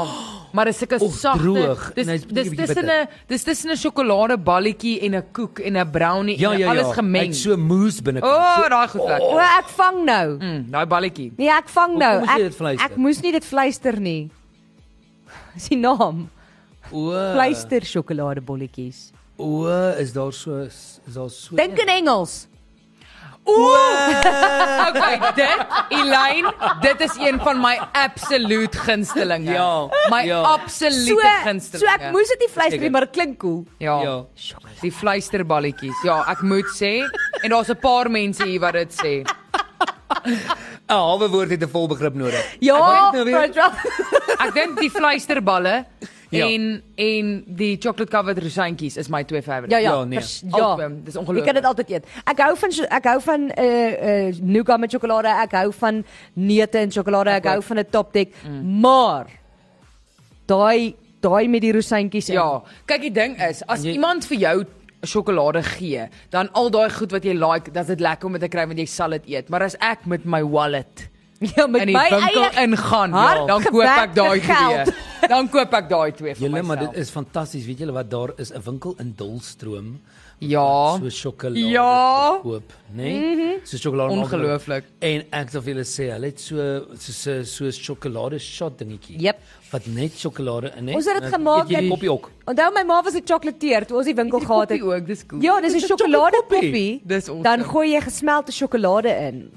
[SPEAKER 3] Maar dis seker
[SPEAKER 4] Of droog, Nou,
[SPEAKER 3] sagte.
[SPEAKER 4] en hy's
[SPEAKER 3] Dis dis
[SPEAKER 4] bietjie
[SPEAKER 3] tussen
[SPEAKER 4] bitter.
[SPEAKER 3] 'n dis tussen 'n sjokoladeballetjie en 'n koek en 'n brownie
[SPEAKER 4] Ja,
[SPEAKER 3] en
[SPEAKER 4] ja,
[SPEAKER 3] alles
[SPEAKER 4] ja.
[SPEAKER 3] gemeng.
[SPEAKER 4] Hy't so moes binne.
[SPEAKER 3] O, oh, daai goed
[SPEAKER 2] O,
[SPEAKER 3] lekker.
[SPEAKER 2] ek vang nou.
[SPEAKER 3] Mm, daai balletjie.
[SPEAKER 2] Nee, ek vang nou.
[SPEAKER 4] Hoekom moes jy dit
[SPEAKER 2] Ek
[SPEAKER 4] fluister?
[SPEAKER 2] ek moes nie dit fluister nie. Dis die naam.
[SPEAKER 4] o,
[SPEAKER 2] Fluister sjokoladebolletjies.
[SPEAKER 4] O, is daar so is daar so
[SPEAKER 2] Dink in Engels.
[SPEAKER 3] Okay, dit Elaine, dit is een van my absoluut gunstelinge.
[SPEAKER 4] Ja,
[SPEAKER 3] my
[SPEAKER 4] ja.
[SPEAKER 2] So
[SPEAKER 3] absolute gunstelinge.
[SPEAKER 2] so ek moes dit nie fluister nie,
[SPEAKER 4] Seker.
[SPEAKER 2] maar dit klink cool.
[SPEAKER 3] ja. ja.
[SPEAKER 4] Ja.
[SPEAKER 3] Die fluisterballetjies. Ja, ek moet sê en daar's 'n paar mense hier wat dit sê.
[SPEAKER 4] 'n halwe woord het 'n volbegrip nodig.
[SPEAKER 2] Ja,
[SPEAKER 4] Ek weet nou weer-
[SPEAKER 2] Frans-
[SPEAKER 3] Ek dink die fluisterballe
[SPEAKER 4] Ja.
[SPEAKER 3] en en die chocolate covered rosantjies is my twee favourite.
[SPEAKER 2] Ja ja,
[SPEAKER 4] Ja, nee.
[SPEAKER 2] pers- ja.
[SPEAKER 3] Album, dis
[SPEAKER 2] Jy
[SPEAKER 3] ongelooflik.
[SPEAKER 2] kan dit altyd eet. Ek hou van so- ek hou van eh eh nougat met sjokolade, ek hou van neute en sjokolade, ek hou van 'n top deck, maar daai daai met die rosantjies in.
[SPEAKER 3] Ja, kyk die ding is, as
[SPEAKER 4] Jy-
[SPEAKER 3] jy, iemand vir jou sjokolade gee, dan al daai goed wat jy like, dan is dit lekker om dit te kry want jy sal dit eet. Maar as ek met my wallet
[SPEAKER 2] ja met
[SPEAKER 3] in die
[SPEAKER 2] my
[SPEAKER 3] winkel
[SPEAKER 2] eie
[SPEAKER 3] ingaan, ja,
[SPEAKER 2] hard
[SPEAKER 3] dan koop ek daai
[SPEAKER 2] gewerkte geld.
[SPEAKER 3] twee. Dan koop ek daai twee vir
[SPEAKER 4] Julle, maar dit
[SPEAKER 3] myself.
[SPEAKER 4] is fantasties. Weet julle wat daar is 'n winkel in Dullstroom
[SPEAKER 3] Ja.
[SPEAKER 4] so sjokolade
[SPEAKER 3] Ja.
[SPEAKER 4] koop, né? Nee? Mm -hmm. So sjokolade
[SPEAKER 3] Ongelooflik.
[SPEAKER 4] En ek wil vir julle sê, hulle het so so so 'n sjokolade shot dingetjie.
[SPEAKER 2] Jep.
[SPEAKER 4] Wat net sjokolade in het.
[SPEAKER 2] Ons het dit
[SPEAKER 4] En dan
[SPEAKER 2] gemaak
[SPEAKER 4] eet jy die
[SPEAKER 2] met-
[SPEAKER 4] koppie ook.
[SPEAKER 2] Onthou my ma was 'n chocolateer toe ons die winkel
[SPEAKER 3] Die
[SPEAKER 2] gehad
[SPEAKER 3] koppie
[SPEAKER 2] het.
[SPEAKER 3] ook, dis cool.
[SPEAKER 2] Ja, dis 'n
[SPEAKER 4] Dis 'n
[SPEAKER 2] sjokoladekoppie.
[SPEAKER 4] chocoladekoppie.
[SPEAKER 3] Dis nou. awesome.
[SPEAKER 2] Dan gooi jy gesmelte sjokolade in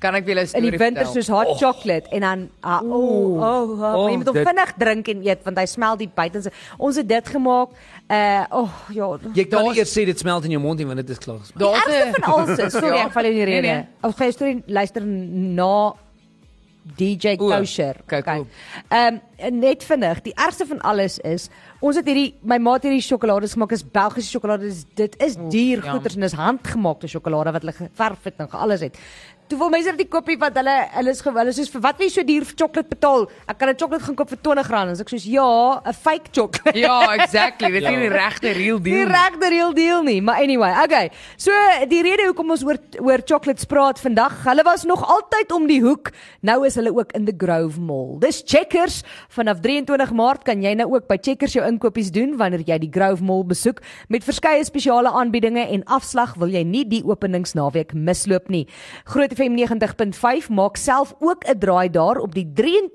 [SPEAKER 3] Kan ek vir julle 'n
[SPEAKER 2] in
[SPEAKER 3] storie
[SPEAKER 2] die winter soos hot oh. chocolate en dan ah, o oh, oh, oh, oh,
[SPEAKER 4] Oh,
[SPEAKER 2] jy moet hom
[SPEAKER 4] dit-
[SPEAKER 2] vinnig drink en eet want hy smel die buitense. Ons het dit gemaak. Uh o oh, ja.
[SPEAKER 4] Jy kan
[SPEAKER 3] Daar's-
[SPEAKER 4] nie eers sê dit smelt in jou mond nie want dit is klaar. gesmelt.
[SPEAKER 3] Daar's
[SPEAKER 2] Ek
[SPEAKER 3] een-
[SPEAKER 2] van alles. Sorry,
[SPEAKER 3] Ja.
[SPEAKER 2] ek val jou in die
[SPEAKER 3] Nee,
[SPEAKER 2] rede.
[SPEAKER 3] nee.
[SPEAKER 2] Ons gaan jou storie luister na DJ
[SPEAKER 4] O,
[SPEAKER 2] Kosher.
[SPEAKER 4] kyk, o.
[SPEAKER 2] Ehm um, net vinnig, die ergste van alles is ons het hierdie my ma het hierdie sjokolades gemaak, is Belgiese sjokolade. Dis dit is duur
[SPEAKER 3] ja.
[SPEAKER 2] goeders en dis handgemaakte sjokolade wat hulle geverf het en alles het. Toe wil mense dit koopie want hulle hulle is ge- hulle is soos vir wat wil jy so duur vir sjokolade betaal? Ek kan 'n sjokolade gaan koop vir R20 en as ek soos ja, 'n fake sjokolade.
[SPEAKER 3] Ja, exactly. Dit is nie die regte real
[SPEAKER 2] Nie
[SPEAKER 3] deal. nie.
[SPEAKER 2] reg die real deal nie, maar anyway, okay. So die rede hoekom ons oor oor chocolates praat vandag, hulle was nog altyd om die hoek. Nou is hulle ook in the Grove Mall. Dis Checkers. Vanaf 23 Maart kan jy nou ook by Checkers jou inkopies doen wanneer jy die Grove Mall besoek met verskeie spesiale aanbiedinge en afslag wil jy nie die openingsnaweek misloop nie. Groot FM 90.5 maak self ook 'n draai daar op die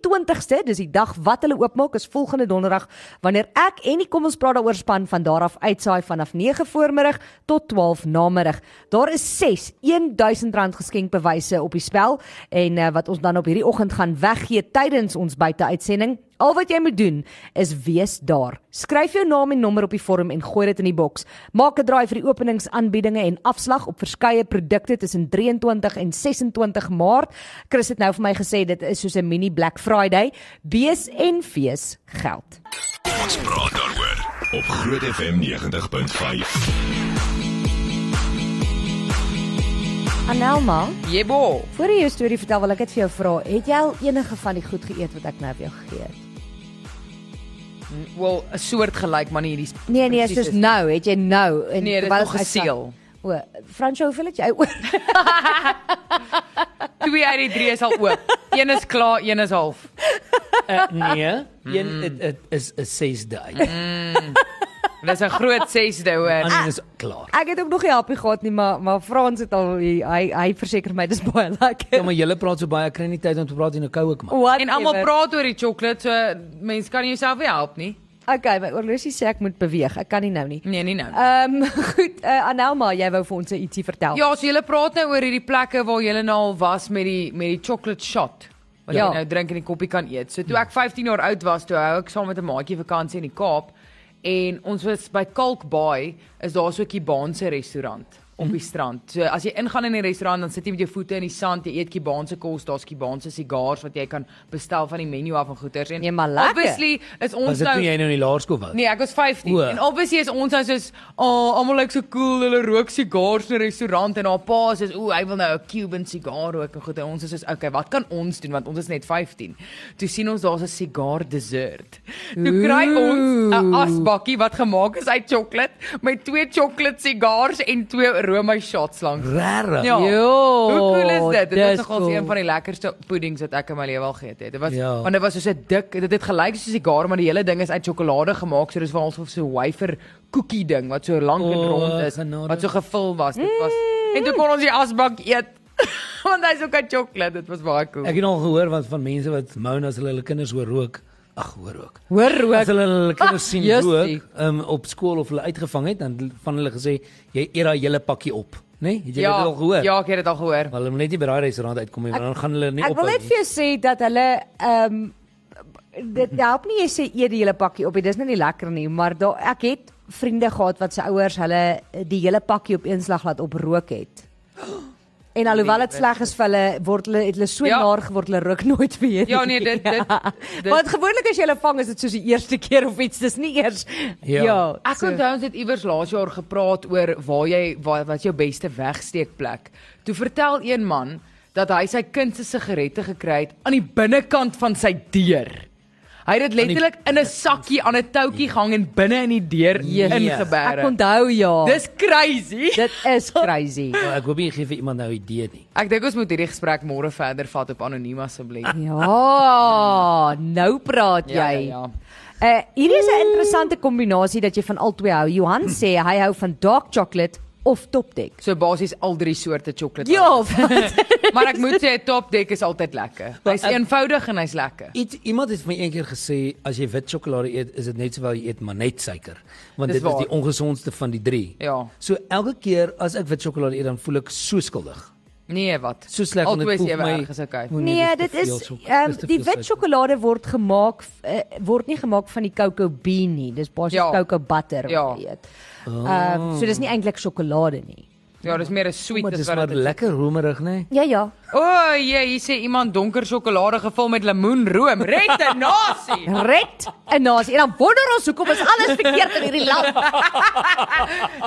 [SPEAKER 2] 23ste, dis die dag wat hulle oopmaak, is volgende donderdag wanneer ek en die kom ons praat daaroor span van daar af uitsaai vanaf 9 voormiddag tot 12 namiddag. Daar is 6 1000 rand eh, geskenkbewyse op die spel en uh, wat ons dan op hierdie oggend gaan weggee tydens ons buiteuitsending Al wat jy moet doen is wees daar. Skryf jou naam en nommer op die vorm en gooi dit in die boks. Maak 'n draai vir die openingsaanbiedinge en afslag op verskeie produkte tussen 23 en 26 Maart. Chris het nou vir my gesê dit is soos 'n mini Black Friday. Bees en fees geld.
[SPEAKER 1] Ons praat daaroor op Groot FM 90.5.
[SPEAKER 2] Anelma,
[SPEAKER 3] Jebo.
[SPEAKER 2] voor jy jou storie vertel, wil ek dit vir jou vra. Het jy al enige van die goed geëet wat ek nou vir jou gegee het?
[SPEAKER 3] Wel, 'n soort gelyk maar nie hierdie sp-
[SPEAKER 2] Nee nee,
[SPEAKER 3] presies
[SPEAKER 2] soos
[SPEAKER 3] is-
[SPEAKER 2] nou, het jy nou en
[SPEAKER 3] Nee, dit is
[SPEAKER 2] terwyl
[SPEAKER 3] nog
[SPEAKER 2] ek uitgaan-
[SPEAKER 3] geseël.
[SPEAKER 2] O, Fransjo, hoeveel het jy oor?
[SPEAKER 3] 2 uit die 3 is al oop. Een is klaar, een is half.
[SPEAKER 4] Uh, nee, een dit dit is 'n sesde uit. Mm.
[SPEAKER 3] Dis 'n groot sesde hoor.
[SPEAKER 4] Ander is klaar.
[SPEAKER 2] Ek het ook nog nie helpie gehad nie, maar maar Frans het al hy hy, hy verseker my dis baie
[SPEAKER 4] Ja,
[SPEAKER 2] lekker.
[SPEAKER 4] maar julle praat so baie, ek kry nie tyd om te praat in 'n koue man.
[SPEAKER 2] What
[SPEAKER 3] En almal praat oor die sjokolade, so mense kan nie jouself nie help nie.
[SPEAKER 2] Okay, my oorlosie sê ek moet beweeg. Ek kan nie nou nie.
[SPEAKER 3] Nee, nie nou.
[SPEAKER 2] Ehm um, goed, uh, Anelma, jy wou vir ons ietsie vertel.
[SPEAKER 3] Ja, so julle praat nou oor hierdie plekke waar julle nou al was met die met die chocolate shot. Wat ja.
[SPEAKER 2] Ja.
[SPEAKER 3] jy nou drink en 'n koppie kan eet. So toe ek 15 jaar oud was, toe hou ek saam met 'n maatjie vakansie in die Kaap en ons was by Kalk Bay, is daar so 'n Kubaanse restaurant op die strand. So as jy ingaan in die restaurant dan sit jy met jou voete in die sand, jy eet Kubaanse kos, daar's Kubaanse sigaars wat jy kan bestel van die menu af en goeters en
[SPEAKER 2] Nee, maar lekker.
[SPEAKER 3] obviously is
[SPEAKER 4] Was
[SPEAKER 3] ons
[SPEAKER 4] dit
[SPEAKER 3] nou
[SPEAKER 4] toe jy nou in die laerskool was?
[SPEAKER 3] Nee, ek was 15
[SPEAKER 4] O.
[SPEAKER 3] en obviously is ons nou soos oh, almal lyk so cool, hulle rook sigare in 'n restaurant en haar pa sê o, hy wil nou 'n Cuban sigaar rook en goed en ons is soos okay, wat kan ons doen want ons is net 15. Toe sien ons daar's 'n sigaar dessert. Toe kry ons 'n asbakkie wat gemaak is uit sjokolade met twee sjokolade sigaars en twee Roma shots langs.
[SPEAKER 4] Regtig?
[SPEAKER 3] Ja.
[SPEAKER 2] Jo,
[SPEAKER 3] Hoe cool is dit? Dit
[SPEAKER 2] dis
[SPEAKER 3] was nogal
[SPEAKER 2] cool.
[SPEAKER 3] een van die lekkerste puddings wat ek in my lewe al geëet het. Dit was
[SPEAKER 4] Ja.
[SPEAKER 3] want dit was so 'n dik, dit het gelyk soos 'n sigaar, maar die hele ding is uit sjokolade gemaak, so dis wel so 'n wafer koekie ding wat so lank en
[SPEAKER 4] O,
[SPEAKER 3] rond is,
[SPEAKER 4] genade. Mm.
[SPEAKER 3] wat so gevul was. Dit was en toe kon ons die asbak eet. want hy's ook uit sjokolade. Dit was baie cool.
[SPEAKER 4] Ek het al gehoor wat van mense wat mou as hulle hulle kinders hoor rook. Ag, hoor rook.
[SPEAKER 2] Hoor rook.
[SPEAKER 4] As hulle hulle kinders sien
[SPEAKER 3] Justie.
[SPEAKER 4] rook, um, op skool of hulle uitgevang het, dan van hulle gesê jy eet daai hele pakkie op, né? Nee? Het jy dit al gehoor?
[SPEAKER 3] Ja, ek het dit al gehoor.
[SPEAKER 4] Maar hulle moet net nie by daai restaurant uitkom nie, want dan gaan hulle nie
[SPEAKER 2] Ek
[SPEAKER 4] op.
[SPEAKER 2] wil net vir jou sê dat hulle ehm um, dit help nie jy sê eet die hele pakkie op, nie, dis nou nie lekker nie, maar daar ek het vriende gehad wat se ouers hulle eh, die hele pakkie op eenslag laat oprook het. En alhoewel dit sleg is vir hulle, word hulle het hulle so
[SPEAKER 3] Nee, Ja.
[SPEAKER 2] ja. naar geword hulle rook nooit weer.
[SPEAKER 3] Ja, nee, dit- dit- dit-
[SPEAKER 2] Want gewoonlik as jy hulle vang is dit soos die eerste keer of iets, dis nie eers
[SPEAKER 4] Ja.
[SPEAKER 2] ja.
[SPEAKER 3] Ek onthou ons het iewers laas jaar gepraat oor waar jy waar, wat jou beste wegsteekplek. Toe vertel een man dat hy sy kind se sigarette gekry het aan die binnekant van sy deur. Hy het dit
[SPEAKER 4] die-
[SPEAKER 3] letterlik in 'n sakkie aan 'n toutjie gehang en binne in die deur
[SPEAKER 4] Yes.
[SPEAKER 2] Ek
[SPEAKER 3] ingeberg.
[SPEAKER 2] onthou ja. Dis
[SPEAKER 3] Dis crazy.
[SPEAKER 2] dit is crazy.
[SPEAKER 4] Ja, ek hoop jy gee vir iemand nou 'n idee nie.
[SPEAKER 3] Ek dink ons moet hierdie gesprek môre verder vat op anoniem asseblief.
[SPEAKER 2] Ah, Ja, nou praat
[SPEAKER 3] Ja,
[SPEAKER 2] jy.
[SPEAKER 3] ja, ja.
[SPEAKER 2] Uh hierdie is 'n interessante kombinasie dat jy van al twee hou. Johan sê hy hou van dark chocolate of topdek.
[SPEAKER 3] So basies al drie soorte sjokolade.
[SPEAKER 2] Ja,
[SPEAKER 3] maar ek moet sê Top Deck is altyd lekker. Hy's eenvoudig en hy's lekker.
[SPEAKER 4] Iets iemand het vir my eendag gesê as jy wit sjokolade eet, is dit net sowel jy eet maar net suiker, want
[SPEAKER 3] Dis
[SPEAKER 4] dit is
[SPEAKER 3] waar.
[SPEAKER 4] die ongesondste van die drie.
[SPEAKER 3] Ja.
[SPEAKER 4] So elke keer as ek wit sjokolade eet, dan voel ek so skuldig.
[SPEAKER 3] Nee, wat?
[SPEAKER 4] So sleg want
[SPEAKER 3] Altyd
[SPEAKER 4] dit voel
[SPEAKER 3] ewe
[SPEAKER 4] vir my.
[SPEAKER 3] erg is okay.
[SPEAKER 4] O
[SPEAKER 2] nee,
[SPEAKER 4] dis
[SPEAKER 2] dit
[SPEAKER 4] te veel
[SPEAKER 2] is
[SPEAKER 4] sok-
[SPEAKER 2] ehm
[SPEAKER 4] dis te
[SPEAKER 2] die
[SPEAKER 4] veel
[SPEAKER 2] wit
[SPEAKER 4] suiker.
[SPEAKER 2] sjokolade word gemaak uh, word nie gemaak van die cocoa bean nie. Dis basies
[SPEAKER 3] Ja.
[SPEAKER 2] ja. cocoa butter wat
[SPEAKER 3] Ja.
[SPEAKER 2] jy eet.
[SPEAKER 4] Ah.
[SPEAKER 2] Ehm so dis nie eintlik sjokolade nie.
[SPEAKER 3] Ja, dis meer 'n sweet
[SPEAKER 4] Maar
[SPEAKER 3] as
[SPEAKER 4] dis
[SPEAKER 3] wat
[SPEAKER 4] maar
[SPEAKER 3] dit is.
[SPEAKER 4] lekker roemerig, né? Nee?
[SPEAKER 2] Ja ja.
[SPEAKER 3] O, oh, jee, hier sê iemand donker sjokolade gevul met lemoenroom. Rette nasie.
[SPEAKER 2] Red en nasie. En dan wonder ons hoekom is alles verkeerd in hierdie land.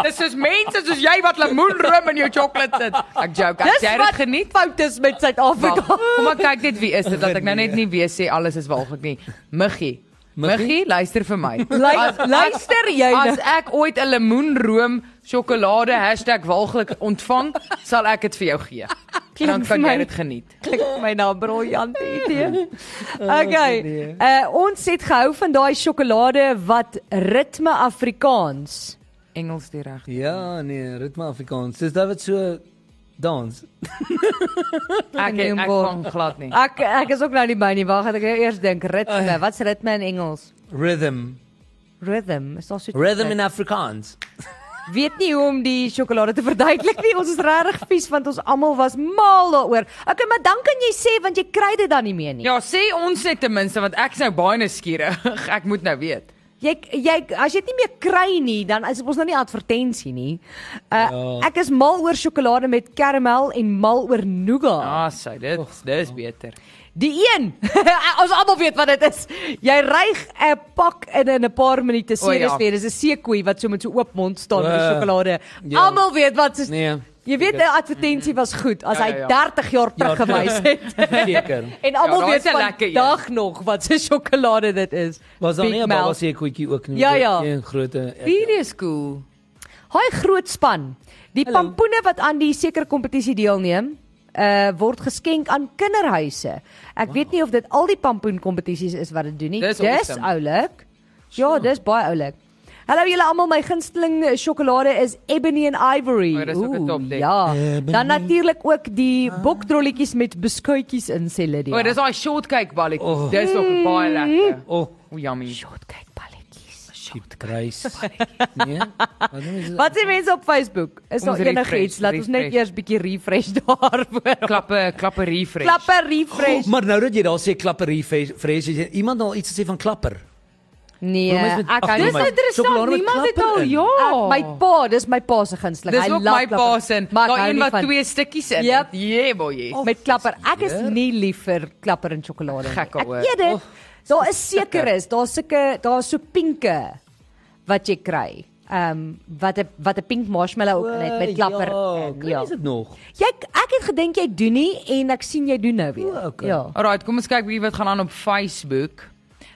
[SPEAKER 3] Dis soos mense soos jy wat lemoenroom in jou sjokolade sit. Ek joke, ek
[SPEAKER 2] Dis
[SPEAKER 3] jy
[SPEAKER 2] wat
[SPEAKER 3] dit geniet.
[SPEAKER 2] Fout is met
[SPEAKER 3] Wag,
[SPEAKER 2] Suid-Afrika.
[SPEAKER 3] kom ek kyk net wie is dit dat ek nou net nie weer sê alles is walglik nie. Muggie. Muggie, luister vir my. As-
[SPEAKER 2] Lu- Luister jy nou?
[SPEAKER 3] As ek ooit 'n lemoenroom sjokolade hashtag #walglik ontvang, sal ek dit vir jou gee. En dan
[SPEAKER 2] Klink vir
[SPEAKER 3] kan jy
[SPEAKER 2] my-
[SPEAKER 3] dit geniet.
[SPEAKER 2] klink vir my na 'n briljante idee.
[SPEAKER 3] Ja,
[SPEAKER 2] Okay. Uh ons het gehou van daai sjokolade wat ritme Afrikaans.
[SPEAKER 3] Engels die reg.
[SPEAKER 4] Ja, nee, ritme Afrikaans. Dis daai wat so dans.
[SPEAKER 3] Ek ek kan glad nie.
[SPEAKER 2] Ek ek is ook nou nie by nie. Wag, ek wil eers dink ritme. Wat's ritme in Engels?
[SPEAKER 4] Rhythm.
[SPEAKER 2] Rhythm. Is daar so
[SPEAKER 4] Rhythm in Afrikaans.
[SPEAKER 2] weet nie hoe om die sjokolade te verduidelik nie. Ons is regtig vies want ons almal was mal daaroor. Okay, maar dan kan jy sê want jy kry dit dan nie meer nie.
[SPEAKER 3] Ja, sê ons net ten minste want ek's nou baie nuuskierig. Ek moet nou weet.
[SPEAKER 2] Jy jy as jy dit nie meer kry nie, dan is ons nou nie advertensie nie. Uh,
[SPEAKER 4] Ja.
[SPEAKER 2] Ek is mal oor sjokolade met karamel en mal oor nougat.
[SPEAKER 3] Ah, sê dit, dis beter.
[SPEAKER 2] Die een. ons almal weet wat dit is. Jy ryg 'n pak in in 'n paar minute
[SPEAKER 3] O, ja.
[SPEAKER 2] serieus weer. Dis 'n seekoei wat so met so oop mond staan met
[SPEAKER 4] O,
[SPEAKER 2] sjokolade.
[SPEAKER 4] ja.
[SPEAKER 2] Almal weet wat is
[SPEAKER 4] Nee.
[SPEAKER 2] Jy weet die advertensie was goed as
[SPEAKER 3] Ja,
[SPEAKER 2] hy
[SPEAKER 3] ja, ja.
[SPEAKER 2] 30 jaar terug
[SPEAKER 4] Ja,
[SPEAKER 2] gewys het.
[SPEAKER 4] Seker.
[SPEAKER 2] En almal
[SPEAKER 3] Ja, daai
[SPEAKER 2] weet
[SPEAKER 3] is 'n
[SPEAKER 2] van
[SPEAKER 3] lekker een.
[SPEAKER 2] dag nog wat se sjokolade dit is.
[SPEAKER 4] Was daar
[SPEAKER 2] Big
[SPEAKER 4] nie 'n
[SPEAKER 2] Mouth.
[SPEAKER 4] baba se koetjie ook nie?
[SPEAKER 2] Ja, ja.
[SPEAKER 4] Een grootte.
[SPEAKER 3] Hierdie is cool.
[SPEAKER 2] Hy groot span. Die
[SPEAKER 4] Hallo.
[SPEAKER 2] pampoene wat aan die sekere kompetisie deelneem, uh word geskenk aan kinderhuise. Ek weet nie of dit al die pampoen kompetisies is wat dit doen nie.
[SPEAKER 3] Dis
[SPEAKER 2] dis
[SPEAKER 3] awesome.
[SPEAKER 2] oulik. Ja, dis baie oulik. Hallo julle almal, my gunsteling sjokolade is Ebony and Ivory.
[SPEAKER 3] O, dis ook nee. 'n
[SPEAKER 2] Oeh,
[SPEAKER 3] topdek.
[SPEAKER 2] ja.
[SPEAKER 4] Ebony.
[SPEAKER 2] Dan natuurlik ook die bokdrolletjies met beskuitjies in sê Lydia.
[SPEAKER 3] O, dis daai shortcake balletjies.
[SPEAKER 4] Oh.
[SPEAKER 3] Oh. Dis nog baie lekker.
[SPEAKER 4] Oh,
[SPEAKER 3] O, yummy.
[SPEAKER 2] shortcake balletjies.
[SPEAKER 4] shit, kruis. Nee. Wat noem jy?
[SPEAKER 2] Wat sê mense op Facebook? Is
[SPEAKER 3] Kom
[SPEAKER 2] daar
[SPEAKER 3] ons
[SPEAKER 2] enigiets?
[SPEAKER 3] refresh,
[SPEAKER 2] Laat ons net
[SPEAKER 3] refresh.
[SPEAKER 2] eers bietjie refresh daarvoor.
[SPEAKER 3] Klappe, klappe refresh.
[SPEAKER 2] Klappe refresh.
[SPEAKER 4] Maar nou dat jy daar sê klapper hier vrees jy iemand al iets gesê van klapper.
[SPEAKER 2] Nee,
[SPEAKER 4] Hoekom is dit-
[SPEAKER 2] ek
[SPEAKER 4] Ag,
[SPEAKER 2] hou
[SPEAKER 4] dis
[SPEAKER 2] nie.
[SPEAKER 4] uit- Sjokolade met klapper in.
[SPEAKER 3] ja.
[SPEAKER 2] Ek- My pa, dis my pa se gunsteling.
[SPEAKER 3] Dis
[SPEAKER 2] Hy
[SPEAKER 3] ook
[SPEAKER 2] love
[SPEAKER 3] my pa
[SPEAKER 2] klapper.
[SPEAKER 3] se.
[SPEAKER 2] Maar ek
[SPEAKER 3] Daai
[SPEAKER 2] hou
[SPEAKER 3] een
[SPEAKER 2] nie
[SPEAKER 3] wat
[SPEAKER 2] van-
[SPEAKER 3] twee Ja. stukkies in.
[SPEAKER 2] Yep.
[SPEAKER 3] Yeah, boy.
[SPEAKER 2] met klapper. Ek is
[SPEAKER 4] Hier.
[SPEAKER 2] nie lief vir klapper en sjokolade nie.
[SPEAKER 3] Gek
[SPEAKER 2] Ek
[SPEAKER 3] ouwe.
[SPEAKER 2] weet dit. Daar is seker is, daar's sulke daar's so pinke wat jy kry. Ehm um, wat 'n wat 'n pink marshmallow ook in het met klapper.
[SPEAKER 4] Ja,
[SPEAKER 2] en-
[SPEAKER 4] kry is dit nog?
[SPEAKER 2] Jy ek het gedink jy doen nie en ek sien jy doen nou weer.
[SPEAKER 4] O, okay.
[SPEAKER 2] Ja.
[SPEAKER 3] Alrite, kom ons kyk wie wat gaan aan op Facebook.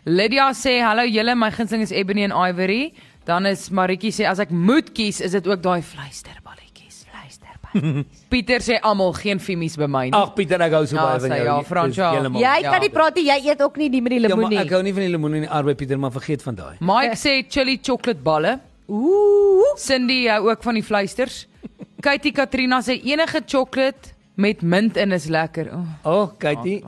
[SPEAKER 3] Lydia sê hallo julle, my gunsteling is Ebony en Ivory. Dan is Maritjie sê as ek moet kies, is dit ook daai fluisterballetjies.
[SPEAKER 2] Luister baie.
[SPEAKER 3] Pieter sê almal geen femies by my nie.
[SPEAKER 4] Ag Pieter, ek hou so
[SPEAKER 3] Ja,
[SPEAKER 4] baie van
[SPEAKER 3] sy,
[SPEAKER 4] jou.
[SPEAKER 3] ja,
[SPEAKER 4] Dit is
[SPEAKER 3] Fransja.
[SPEAKER 4] heeltemal-
[SPEAKER 2] Jy
[SPEAKER 3] Ja.
[SPEAKER 2] kan nie praat nie, jy eet ook nie die met die
[SPEAKER 4] Ja, maar
[SPEAKER 2] lemoen
[SPEAKER 4] ek
[SPEAKER 2] nie.
[SPEAKER 4] hou nie van die lemoen en die arbeid Pieter, maar vergeet van daai.
[SPEAKER 3] Mike sê chili chocoladeballe.
[SPEAKER 2] Ooh.
[SPEAKER 3] Cindy hou ook van die fluisters. Katie Katrina sê enige chocolate met mint in is lekker. Oh.
[SPEAKER 4] O, oh, Katie,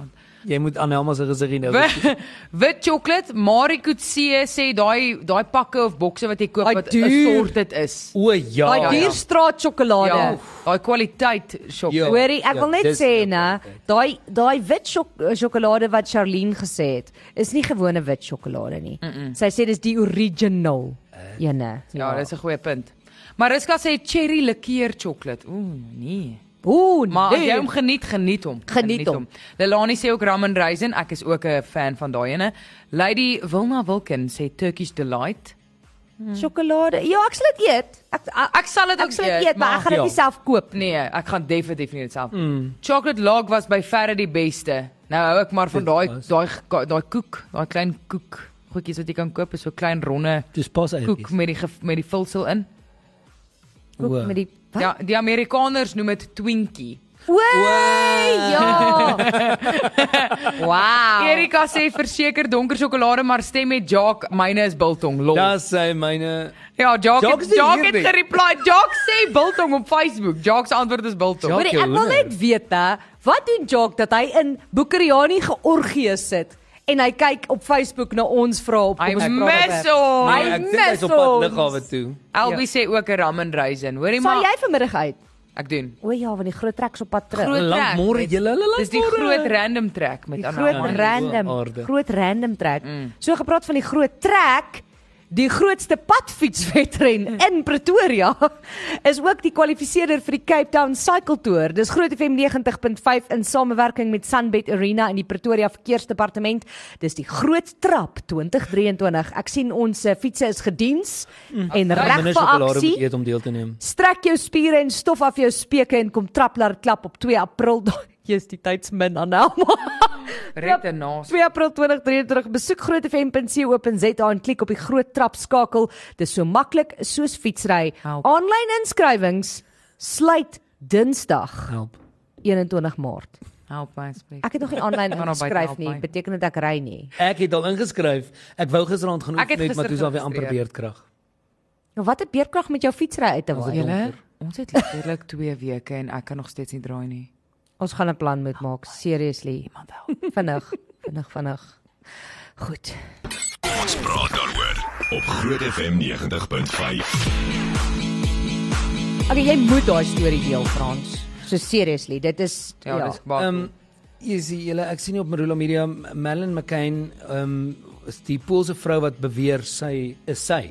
[SPEAKER 4] jy moet aan Helma se gesig hier nou.
[SPEAKER 3] Wit, wit chocolate, Marie Coetzee sê daai daai pakke of bokse wat jy koop
[SPEAKER 2] Daai
[SPEAKER 3] wat
[SPEAKER 2] duur.
[SPEAKER 3] assorted is.
[SPEAKER 4] O ja.
[SPEAKER 2] Daai
[SPEAKER 3] ja.
[SPEAKER 2] duur straat sjokolade.
[SPEAKER 3] Ja, daai kwaliteit
[SPEAKER 4] Ja.
[SPEAKER 3] chocolate.
[SPEAKER 2] Hoorie, ek
[SPEAKER 4] ja,
[SPEAKER 2] wil net
[SPEAKER 4] dis-
[SPEAKER 2] sê
[SPEAKER 4] ja,
[SPEAKER 2] nè, daai daai wit sjok- eh, sjokolade wat Charlene gesê het, is nie gewone wit sjokolade nie. Mm -mm. Sy sê dis die original ene.
[SPEAKER 3] Ja, dis 'n goeie punt. Mariska sê cherry liqueur chocolate. Ooh, nee.
[SPEAKER 2] Ooh,
[SPEAKER 3] Maar as
[SPEAKER 2] nee.
[SPEAKER 3] jy hom geniet, geniet hom.
[SPEAKER 2] Geniet hom.
[SPEAKER 3] Lelani sê ook rum and raisin. Ek is ook 'n fan van daai ene. Lady Wilna Wilkin sê Turkish delight.
[SPEAKER 2] sjokolade. Ja, ek sal dit eet. Ek ek,
[SPEAKER 3] Mm. Ek sal dit ook
[SPEAKER 2] ek sal dit eet, maar ek gaan dit
[SPEAKER 4] ja.
[SPEAKER 2] nie self koop nie.
[SPEAKER 3] Nee, ek gaan definitief nie dit self. Mm. Chocolate log was by verre die beste. Nou hou ek maar van
[SPEAKER 4] Dit
[SPEAKER 3] daai
[SPEAKER 4] was.
[SPEAKER 3] daai ka- daai koek, daai klein koek. Goedjies wat jy kan koop is so klein ronde
[SPEAKER 4] Dis pas uit.
[SPEAKER 3] koek met die gef- met die vulsel in.
[SPEAKER 2] Koek met die wat?
[SPEAKER 3] Ja, die Amerikaners noem dit Twinkie.
[SPEAKER 2] Oei, ja. wow.
[SPEAKER 3] Erika sê verseker donker sjokolade, maar stem met Jacques, myne is biltong. Lol.
[SPEAKER 4] Daar sê myne
[SPEAKER 3] ja, Jacques,
[SPEAKER 4] Jacques
[SPEAKER 3] Jacques,
[SPEAKER 4] is nie
[SPEAKER 3] Jacques
[SPEAKER 4] hier
[SPEAKER 3] het
[SPEAKER 4] nie.
[SPEAKER 3] gereply. Jacques sê biltong op Facebook. Jacques se antwoord is biltong.
[SPEAKER 4] Jacques-
[SPEAKER 2] Hoorie, ek wil
[SPEAKER 4] Jacques,
[SPEAKER 2] net weet hè, wat doen Jock dat hy in Boekeriani georgie sit en hy kyk op Facebook na ons vra op
[SPEAKER 3] Hy
[SPEAKER 2] kom ons
[SPEAKER 3] mis
[SPEAKER 2] praat.
[SPEAKER 3] hom.
[SPEAKER 2] Hy
[SPEAKER 4] Nee, ek dink hy's
[SPEAKER 2] mis
[SPEAKER 4] op pad
[SPEAKER 2] ons.
[SPEAKER 4] liggawe toe.
[SPEAKER 3] Albie sê ook 'n ram en raisin. Hoorie
[SPEAKER 2] Sal
[SPEAKER 3] maar,
[SPEAKER 2] jy vanmiddag uit?
[SPEAKER 3] ek doen.
[SPEAKER 2] O ja, want die groot trek is op pad terug.
[SPEAKER 3] Groot
[SPEAKER 4] Lank
[SPEAKER 3] trek.
[SPEAKER 4] môre julle, hulle lank
[SPEAKER 3] Dis die
[SPEAKER 4] môre.
[SPEAKER 3] groot random trek met
[SPEAKER 2] die
[SPEAKER 3] Anna.
[SPEAKER 2] groot
[SPEAKER 4] Anna.
[SPEAKER 2] random,
[SPEAKER 4] O, aarde. Mm.
[SPEAKER 2] groot random trek. So gepraat van die groot trek, die grootste padfietswedren
[SPEAKER 4] Mm.
[SPEAKER 2] in Pretoria is ook die kwalifiseerder vir die Cape Town Cycle Tour. Dis Groot FM 90.5 in samewerking met Sunbet Arena in die Pretoria Verkeersdepartement. Dis die Groot Trap 2023. Ek sien ons eh, fietsse is gediens
[SPEAKER 4] Mm.
[SPEAKER 2] en reg
[SPEAKER 4] Minder
[SPEAKER 2] vir
[SPEAKER 4] sjokolade
[SPEAKER 2] aksie.
[SPEAKER 4] moet eet om deel te neem.
[SPEAKER 2] Strek jou spiere en stof af jou speke en kom traplar klap op 2 April. Jy's die tydsmin aan Elma.
[SPEAKER 3] Red en naas.
[SPEAKER 2] 2 April 2023 besoek grootfm.co.za en klik op die groot trap skakel. Dis so maklik soos fietsry.
[SPEAKER 3] Help.
[SPEAKER 2] Aanlyn inskrywings sluit Dinsdag
[SPEAKER 4] Help.
[SPEAKER 2] 21 Maart.
[SPEAKER 3] Help my asseblief.
[SPEAKER 2] Ek het nog nie aanlyn
[SPEAKER 3] Kan op buite
[SPEAKER 2] ingeskryf
[SPEAKER 3] help
[SPEAKER 2] nie,
[SPEAKER 3] my.
[SPEAKER 2] beteken dit ek ry nie.
[SPEAKER 4] Ek het al ingeskryf. Ek wou gisteraand gaan
[SPEAKER 3] Ek het
[SPEAKER 4] oefen net, maar
[SPEAKER 3] gister
[SPEAKER 4] toe sal weer amper
[SPEAKER 3] geregistreer.
[SPEAKER 4] beerdkrag.
[SPEAKER 2] Nou wat 'n beerkrag met jou fietsry uit te waai.
[SPEAKER 3] Julle, ons het letterlik 2 weke en ek kan nog steeds nie draai nie.
[SPEAKER 2] Ons gaan 'n plan moet maak, seriously.
[SPEAKER 3] Iemand help.
[SPEAKER 2] Vinnig, vinnig, vinnig. Goed.
[SPEAKER 1] Ons praat daaroor op Groot FM 90.5.
[SPEAKER 2] Okay, jy moet daai storie deel, Frans. So seriously, dit is
[SPEAKER 3] Ja, ja. dis baie.
[SPEAKER 4] Ehm is julle ek sien hier op Marula Media Melon McCain ehm is die Poolse vrou wat beweer sy is sy.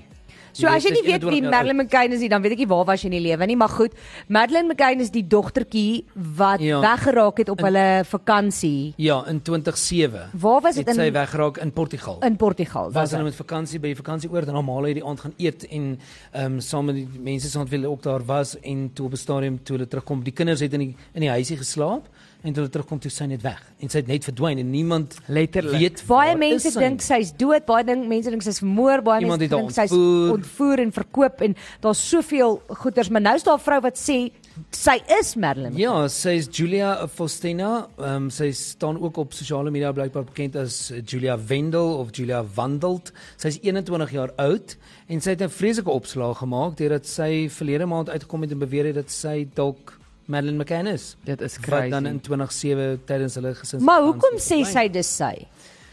[SPEAKER 2] So as jy nie
[SPEAKER 4] sy is
[SPEAKER 2] weet wie
[SPEAKER 4] 21 jaar
[SPEAKER 2] Madeleine McCain is nie, dan weet ek nie waar was jy in die lewe nie, maar goed. Madeleine McCain is die dogtertjie wat ja.
[SPEAKER 4] Ja.
[SPEAKER 2] weggeraak het op
[SPEAKER 4] In-
[SPEAKER 2] hulle vakansie
[SPEAKER 4] oud. Ja, in 2007.
[SPEAKER 2] Waar was dit
[SPEAKER 4] het sy
[SPEAKER 2] in-
[SPEAKER 4] weggeraak in Portugal?
[SPEAKER 2] in Portugal.
[SPEAKER 4] was
[SPEAKER 2] dit?
[SPEAKER 4] hulle met vakansie by die vakantieoord en normaal het nou die aand gaan eet en ehm saam met die mense saam wat hulle op daar was en toe op 'n stadium toe hulle terugkom die kinders het in die in die huisie geslaap en toe hulle terugkom toe sy net weg en sy het net verdwyn en niemand
[SPEAKER 3] Letterlik.
[SPEAKER 4] weet
[SPEAKER 2] Baie
[SPEAKER 4] waar
[SPEAKER 2] mense
[SPEAKER 4] is sy
[SPEAKER 2] dink
[SPEAKER 4] nie.
[SPEAKER 2] sy's dood, baie ding, mense dink sy's vermoor, baie
[SPEAKER 4] Iemand
[SPEAKER 2] mense
[SPEAKER 4] het haar
[SPEAKER 2] dink sy's
[SPEAKER 4] ontvoer.
[SPEAKER 2] ontvoer en verkoop en daar's soveel goeters, maar nou's daar 'n vrou wat sê sy is Madeleine.
[SPEAKER 4] Ja, sy is Julia Faustina. Ehm um, sy staan ook op sosiale media blykbaar bekend as Julia Wendel of Julia Wandelt. Sy is 21 jaar oud en sy het 'n vreeslike opslag gemaak deurdat sy verlede maand uitgekom het en beweer het dat sy dalk Madeleine McCann is.
[SPEAKER 3] Dit is
[SPEAKER 4] Wat dan
[SPEAKER 3] crazy.
[SPEAKER 4] in 2007 tydens hulle gesins.
[SPEAKER 2] Maar hoekom sê sy dis sy?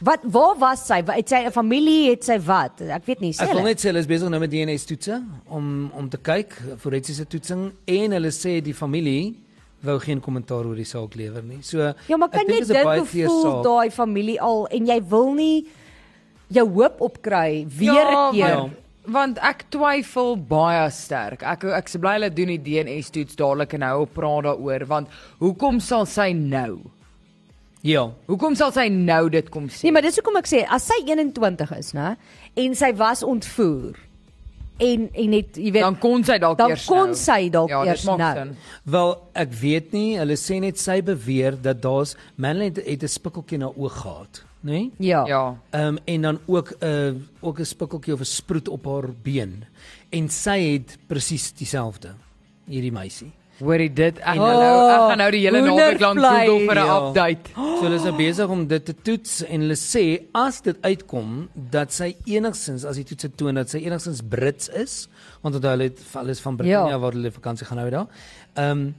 [SPEAKER 2] Wat waar was sy? Het sy 'n familie, het sy wat? Ek weet nie, sê
[SPEAKER 4] Ek wil
[SPEAKER 2] hulle.
[SPEAKER 4] net sê hulle is besig nou met DNA toetse om om te kyk forensiese toetsing en hulle sê die familie wou geen kommentaar oor die saak lewer nie. So
[SPEAKER 2] Ja, maar
[SPEAKER 4] ek
[SPEAKER 2] kan
[SPEAKER 4] dink
[SPEAKER 2] jy
[SPEAKER 4] is 'n
[SPEAKER 2] dink
[SPEAKER 4] baie
[SPEAKER 2] hoe
[SPEAKER 4] teer
[SPEAKER 2] voel
[SPEAKER 4] saak.
[SPEAKER 2] daai familie al en jy wil nie jou hoop opkry weer
[SPEAKER 3] Ja,
[SPEAKER 2] 'n keer.
[SPEAKER 4] maar-
[SPEAKER 3] Want, want ek twyfel baie sterk. Ek ek se bly hulle doen die DNA toets dadelik en hou op praat daaroor want hoekom sal sy nou?
[SPEAKER 4] Ja.
[SPEAKER 3] Hoekom sal sy nou dit kom sê?
[SPEAKER 2] Nee, maar dis hoekom ek sê as sy 21 is, né, en sy was ontvoer en en net jy weet
[SPEAKER 3] dan kon sy dalk
[SPEAKER 2] dan
[SPEAKER 3] eers
[SPEAKER 2] kon
[SPEAKER 3] nou.
[SPEAKER 2] sy dalk
[SPEAKER 3] ja, dit
[SPEAKER 2] eers
[SPEAKER 3] maak
[SPEAKER 2] nou.
[SPEAKER 3] sin.
[SPEAKER 4] Wel, ek weet nie, hulle sê net sy beweer dat daar's Manley het, het 'n spikkeltjie na oog gehad, nê? Nee?
[SPEAKER 2] ja.
[SPEAKER 3] Ja.
[SPEAKER 4] Ehm um, en dan ook 'n ook 'n spikkeltjie of 'n sproet op haar been. En sy het presies dieselfde hierdie meisie.
[SPEAKER 3] Hoorie dit. Ek
[SPEAKER 4] Oh,
[SPEAKER 3] gaan nou ek gaan nou die hele naweek lank
[SPEAKER 2] hoendervlei.
[SPEAKER 3] Google vir 'n
[SPEAKER 4] Ja.
[SPEAKER 3] update.
[SPEAKER 4] So hulle is nou besig om dit te toets en hulle sê as dit uitkom dat sy enigstens as die toets het toon dat sy enigstens Brits is, want onthou hulle het alles van Brittanje
[SPEAKER 2] Ja.
[SPEAKER 4] ja. waar hulle vakansie gaan hou daar. Ehm um,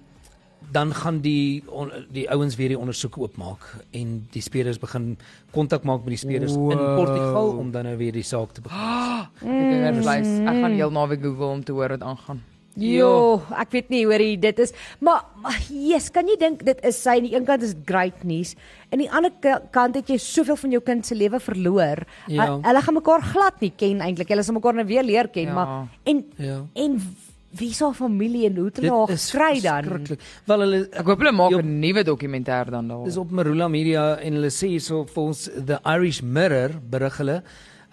[SPEAKER 4] dan gaan die on, die ouens weer die ondersoek oopmaak en die spelers begin kontak maak met die spelers wow. in Portugal om dan nou weer die saak te begin.
[SPEAKER 3] Ek dink
[SPEAKER 2] Mm.
[SPEAKER 3] dit bly. Ek gaan heel naweek Google om te hoor wat aangaan.
[SPEAKER 2] Jo, ek weet nie hoorie, dit is maar Jesus, kan jy dink dit is sy aan die een kant is dit great nuus. Aan die ander ka- kant het jy soveel van jou kind se lewe verloor.
[SPEAKER 4] Ja.
[SPEAKER 2] Hu- Hulle gaan mekaar glad nie ken eintlik. Hulle sal mekaar nou weer leer ken,
[SPEAKER 3] Ja.
[SPEAKER 2] maar en
[SPEAKER 4] Ja.
[SPEAKER 2] en wie sal familie en hoe het hulle haar gekry dan?
[SPEAKER 4] verskriklik. Wel hulle
[SPEAKER 3] Ek hoop hulle maak
[SPEAKER 4] Jo.
[SPEAKER 3] 'n nuwe dokumentêr dan daaroor.
[SPEAKER 4] Dis op Marula Media en hulle sê hierso vir ons the Irish Mirror berig hulle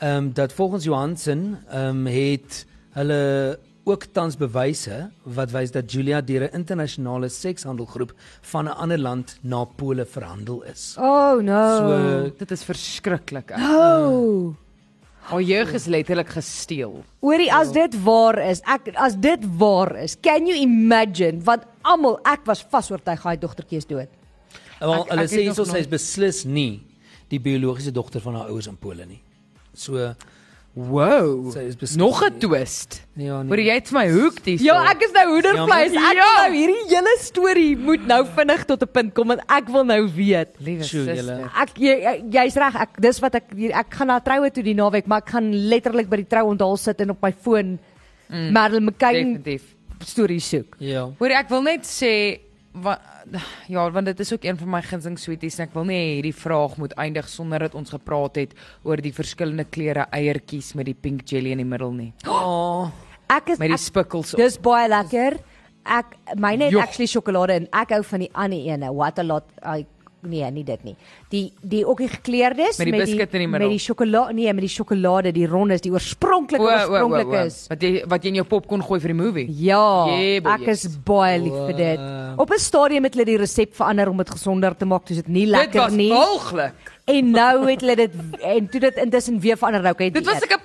[SPEAKER 4] ehm um, dat volgens Johansen ehm um, het hulle ook tans bewyse wat wys dat Julia deur 'n internasionale sekshandelgroep van 'n ander land na Pole verhandel is.
[SPEAKER 2] Oh no.
[SPEAKER 4] So
[SPEAKER 3] Dit is verskriklik. ek.
[SPEAKER 4] eh,
[SPEAKER 2] oh.
[SPEAKER 3] Haar jeug is letterlik gesteel.
[SPEAKER 2] Hoorie, as
[SPEAKER 4] ja.
[SPEAKER 2] dit waar is, ek as dit waar is, can you imagine want almal ek was vasoortuig daai dogtertjie is dood.
[SPEAKER 4] Wel,
[SPEAKER 3] Ek-
[SPEAKER 4] hulle
[SPEAKER 3] ek
[SPEAKER 4] sê
[SPEAKER 3] het nog
[SPEAKER 4] hierso sy is
[SPEAKER 3] nooit-
[SPEAKER 4] beslis nie die biologiese dogter van haar ouers in Pole nie. So
[SPEAKER 3] Ja. Wow.
[SPEAKER 4] Sy is beslis
[SPEAKER 3] Nog 'n
[SPEAKER 4] nie-
[SPEAKER 3] twist.
[SPEAKER 4] ja,
[SPEAKER 3] Hoor jy het vir my hoek dis.
[SPEAKER 2] Ja, ek is nou hoendervleis. Ek wil
[SPEAKER 3] Ja.
[SPEAKER 2] nou hierdie hele storie moet nou vinnig tot 'n punt kom want ek wil nou weet.
[SPEAKER 3] liewe
[SPEAKER 4] Sjoe,
[SPEAKER 3] suster.
[SPEAKER 4] julle.
[SPEAKER 2] Ek jy- jy's reg, ek dis wat ek hier ek gaan na troue toe die naweek, maar ek gaan letterlik by die trou onthaal sit en op my foon mm, Madeline McCain
[SPEAKER 3] Definitief.
[SPEAKER 2] storie soek.
[SPEAKER 4] ja.
[SPEAKER 3] Hoor ek wil net sê wat ja, want dit is ook een van my gunsteling sweeties en ek wil nie hê hierdie vraag moet eindig sonder dat ons gepraat het oor die verskillende kleure eiertjies met die pink jelly in die middel nie.
[SPEAKER 4] Oh,
[SPEAKER 2] Ek is
[SPEAKER 3] Met die
[SPEAKER 2] ek,
[SPEAKER 3] spikkels. op.
[SPEAKER 2] dis baie lekker. Ek myne het
[SPEAKER 3] Joch.
[SPEAKER 2] actually sjokolade en ek hou van die ander ene. What a lot I Nee, nie dit nie. Die die ook die gekleurdes
[SPEAKER 3] Met die biscuit in die
[SPEAKER 2] met
[SPEAKER 3] middel.
[SPEAKER 2] die sjokolade, nee, met die sjokolade, die rondes, die oorspronklike
[SPEAKER 3] O, o, o,
[SPEAKER 2] oorspronklik
[SPEAKER 3] o.
[SPEAKER 2] is.
[SPEAKER 3] Wat jy wat jy in jou popcorn gooi vir die movie.
[SPEAKER 2] Ja,
[SPEAKER 3] Jebel,
[SPEAKER 2] ek is baie lief vir dit. Op 'n stadium het hulle die resep verander om dit gesonder te maak, dis dit nie
[SPEAKER 3] Dit
[SPEAKER 2] lekker
[SPEAKER 3] was
[SPEAKER 2] nie.
[SPEAKER 3] walglik.
[SPEAKER 2] En nou het hulle dit en toe dit intussen weer verander nou kan jy
[SPEAKER 3] Dit was
[SPEAKER 2] eet.
[SPEAKER 3] like 'n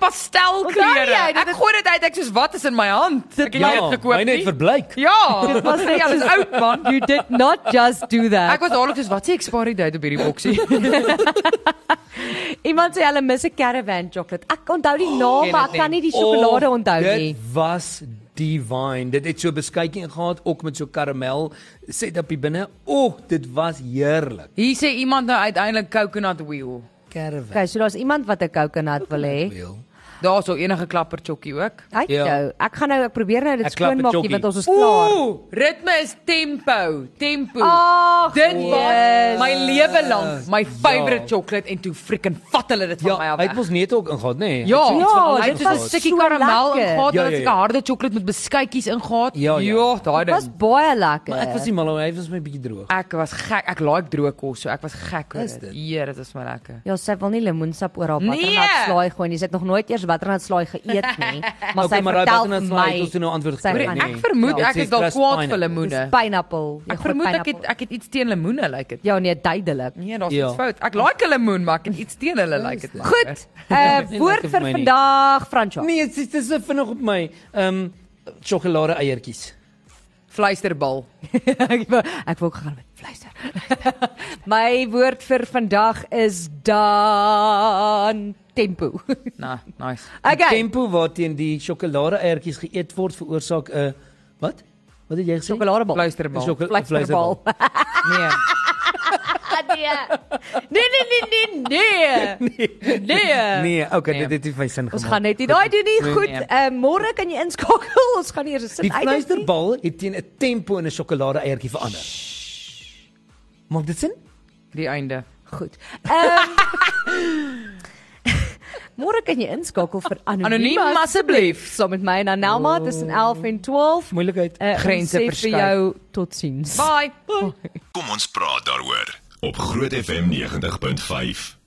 [SPEAKER 2] Onthou
[SPEAKER 3] pastelkleure.
[SPEAKER 2] jy, dit
[SPEAKER 3] Ek gooi dit uit ek soos wat is in my hand? Ek het
[SPEAKER 4] ja,
[SPEAKER 3] dit gekoop
[SPEAKER 4] myne het
[SPEAKER 3] nie.
[SPEAKER 4] verbleik.
[SPEAKER 3] Ja,
[SPEAKER 2] Dit was net
[SPEAKER 3] ja, dis
[SPEAKER 2] soos-
[SPEAKER 3] oud man.
[SPEAKER 2] You did not just do
[SPEAKER 3] Ek
[SPEAKER 2] that.
[SPEAKER 3] was dadelik soos wat sê expiry date op hierdie boksie.
[SPEAKER 2] Iemand sê hulle mis 'n caravan chocolate. Ek onthou die
[SPEAKER 4] Oh,
[SPEAKER 2] naam,
[SPEAKER 3] ken
[SPEAKER 2] maar
[SPEAKER 3] dit
[SPEAKER 2] ek kan nie
[SPEAKER 3] nie.
[SPEAKER 2] die sjokolade onthou nie.
[SPEAKER 4] Dit was divine. Dit het so beskuitjie ingehaat ook met so karamel set op die binne. O, oh, dit was heerlik.
[SPEAKER 3] Hier sê iemand nou uiteindelik coconut wheel.
[SPEAKER 4] Caravan.
[SPEAKER 2] Okay, so daar's iemand wat 'n coconut wil hê.
[SPEAKER 4] Wel.
[SPEAKER 3] Daar sou enige klapper chokkie ook.
[SPEAKER 2] Ai
[SPEAKER 4] Ja.
[SPEAKER 2] nou, ek gaan nou ek probeer nou dit
[SPEAKER 4] Ek klap 'n
[SPEAKER 2] skoonmaak
[SPEAKER 4] joggie.
[SPEAKER 2] hier want ons is klaar.
[SPEAKER 3] Ooh, ritme is tempo, tempo.
[SPEAKER 2] Ag,
[SPEAKER 3] Dit was
[SPEAKER 2] yes.
[SPEAKER 3] my lewe lank my favorite
[SPEAKER 4] Ja.
[SPEAKER 3] chocolate en toe freaking vat hulle dit van
[SPEAKER 4] Ja,
[SPEAKER 3] my af.
[SPEAKER 4] hy het mos net ook ingaan, nê? Nee?
[SPEAKER 3] Ja,
[SPEAKER 4] Hy het
[SPEAKER 2] Ja,
[SPEAKER 4] so-
[SPEAKER 3] hy
[SPEAKER 2] dit
[SPEAKER 3] het so 'n
[SPEAKER 2] was
[SPEAKER 3] stukkie
[SPEAKER 2] so
[SPEAKER 3] karamel
[SPEAKER 2] lekker.
[SPEAKER 3] ingehaat
[SPEAKER 4] Ja,
[SPEAKER 3] en
[SPEAKER 4] ja,
[SPEAKER 3] dit 'n
[SPEAKER 4] ja.
[SPEAKER 3] harde chocolate met beskuitjies ingehaat.
[SPEAKER 4] Ja, ja.
[SPEAKER 3] ja daai
[SPEAKER 2] Dit was
[SPEAKER 3] ding.
[SPEAKER 2] baie lekker.
[SPEAKER 4] Maar ek was nie mal, hy was my bietjie droog.
[SPEAKER 3] Ek was gek, ek like droë kos, so ek was gek oor
[SPEAKER 4] Is
[SPEAKER 3] dit.
[SPEAKER 4] dit?
[SPEAKER 3] Ja, dit is my lekker.
[SPEAKER 2] Ja, sy wil nie lemoensap oor haar
[SPEAKER 3] Nee!
[SPEAKER 2] butternut slaai gooi nie. Sy het nog nooit eers butternut slaai geëet nie, maar
[SPEAKER 4] Okay,
[SPEAKER 2] sy
[SPEAKER 4] maar
[SPEAKER 2] vertel
[SPEAKER 4] daai butternut
[SPEAKER 2] vir
[SPEAKER 4] slaai het
[SPEAKER 2] my
[SPEAKER 4] ons toe nou antwoord
[SPEAKER 2] sy
[SPEAKER 4] gekry,
[SPEAKER 2] gaan-
[SPEAKER 4] nê?
[SPEAKER 3] Ek vermoed
[SPEAKER 4] Ja.
[SPEAKER 3] ek is
[SPEAKER 4] Dit
[SPEAKER 3] dalk
[SPEAKER 4] is
[SPEAKER 3] kwaad vir
[SPEAKER 4] pineapple.
[SPEAKER 2] Dis
[SPEAKER 3] lemoene.
[SPEAKER 2] pineappel. Jy
[SPEAKER 3] Ek
[SPEAKER 2] gooi
[SPEAKER 3] vermoed ek het
[SPEAKER 2] pineappel.
[SPEAKER 3] ek het iets teen lemoene, lyk dit.
[SPEAKER 2] Ja nee, duidelik.
[SPEAKER 3] Nee, daar's
[SPEAKER 4] Ja.
[SPEAKER 3] iets fout. Ek like 'n lemoen, maar ek het iets teen hulle, lyk dit.
[SPEAKER 2] Goed. Uh
[SPEAKER 4] Nee,
[SPEAKER 2] woord
[SPEAKER 4] lekker vir
[SPEAKER 2] vir
[SPEAKER 4] my nie.
[SPEAKER 2] vandag, Franco.
[SPEAKER 4] Nee, dit is- dit is so vinnig op my. Ehm sjokolade eiertjies.
[SPEAKER 3] Fluisterbal.
[SPEAKER 2] ek wou ek wou ook gaan met fluister. my woord vir vandag is dan tempo.
[SPEAKER 3] Nah, nice.
[SPEAKER 4] Die
[SPEAKER 2] Okay.
[SPEAKER 4] tempo waarteen die sjokolade eiertjies geëet word veroorsaak 'n wat? Wat het jy gesê?
[SPEAKER 2] Sjokoladebal.
[SPEAKER 3] Fluisterbal.
[SPEAKER 4] Sjokolade-
[SPEAKER 2] Fluisterbal.
[SPEAKER 4] fluisterbal.
[SPEAKER 3] Nee.
[SPEAKER 2] nee. Nee nee nee nee. nee.
[SPEAKER 3] Nee.
[SPEAKER 4] Nee, okay,
[SPEAKER 3] Nee.
[SPEAKER 4] dit het nie vir my sin gemaak.
[SPEAKER 2] Ons gaan net nie daai doen nie.
[SPEAKER 4] Nee,
[SPEAKER 2] Goed.
[SPEAKER 3] nee.
[SPEAKER 2] Uh môre kan jy inskakel. Ons gaan eers sit
[SPEAKER 4] Die
[SPEAKER 2] uit. dit nie.
[SPEAKER 4] fluisterbal het teen 'n tempo in 'n sjokolade eiertjie verander. Maak dit sin?
[SPEAKER 3] Die einde.
[SPEAKER 2] Goed. Ehm Môre kan jy inskakel vir anoniem.
[SPEAKER 3] Anoniem asseblief.
[SPEAKER 2] saam met my en Anelma tussen 11 en 12.
[SPEAKER 4] Moeilikheid.
[SPEAKER 2] Uh,
[SPEAKER 3] Grense
[SPEAKER 2] Grense vir
[SPEAKER 3] verskuif.
[SPEAKER 2] jou totsiens.
[SPEAKER 3] Bye. Bye.
[SPEAKER 1] Kom ons praat daaroor op Groot FM 90.5.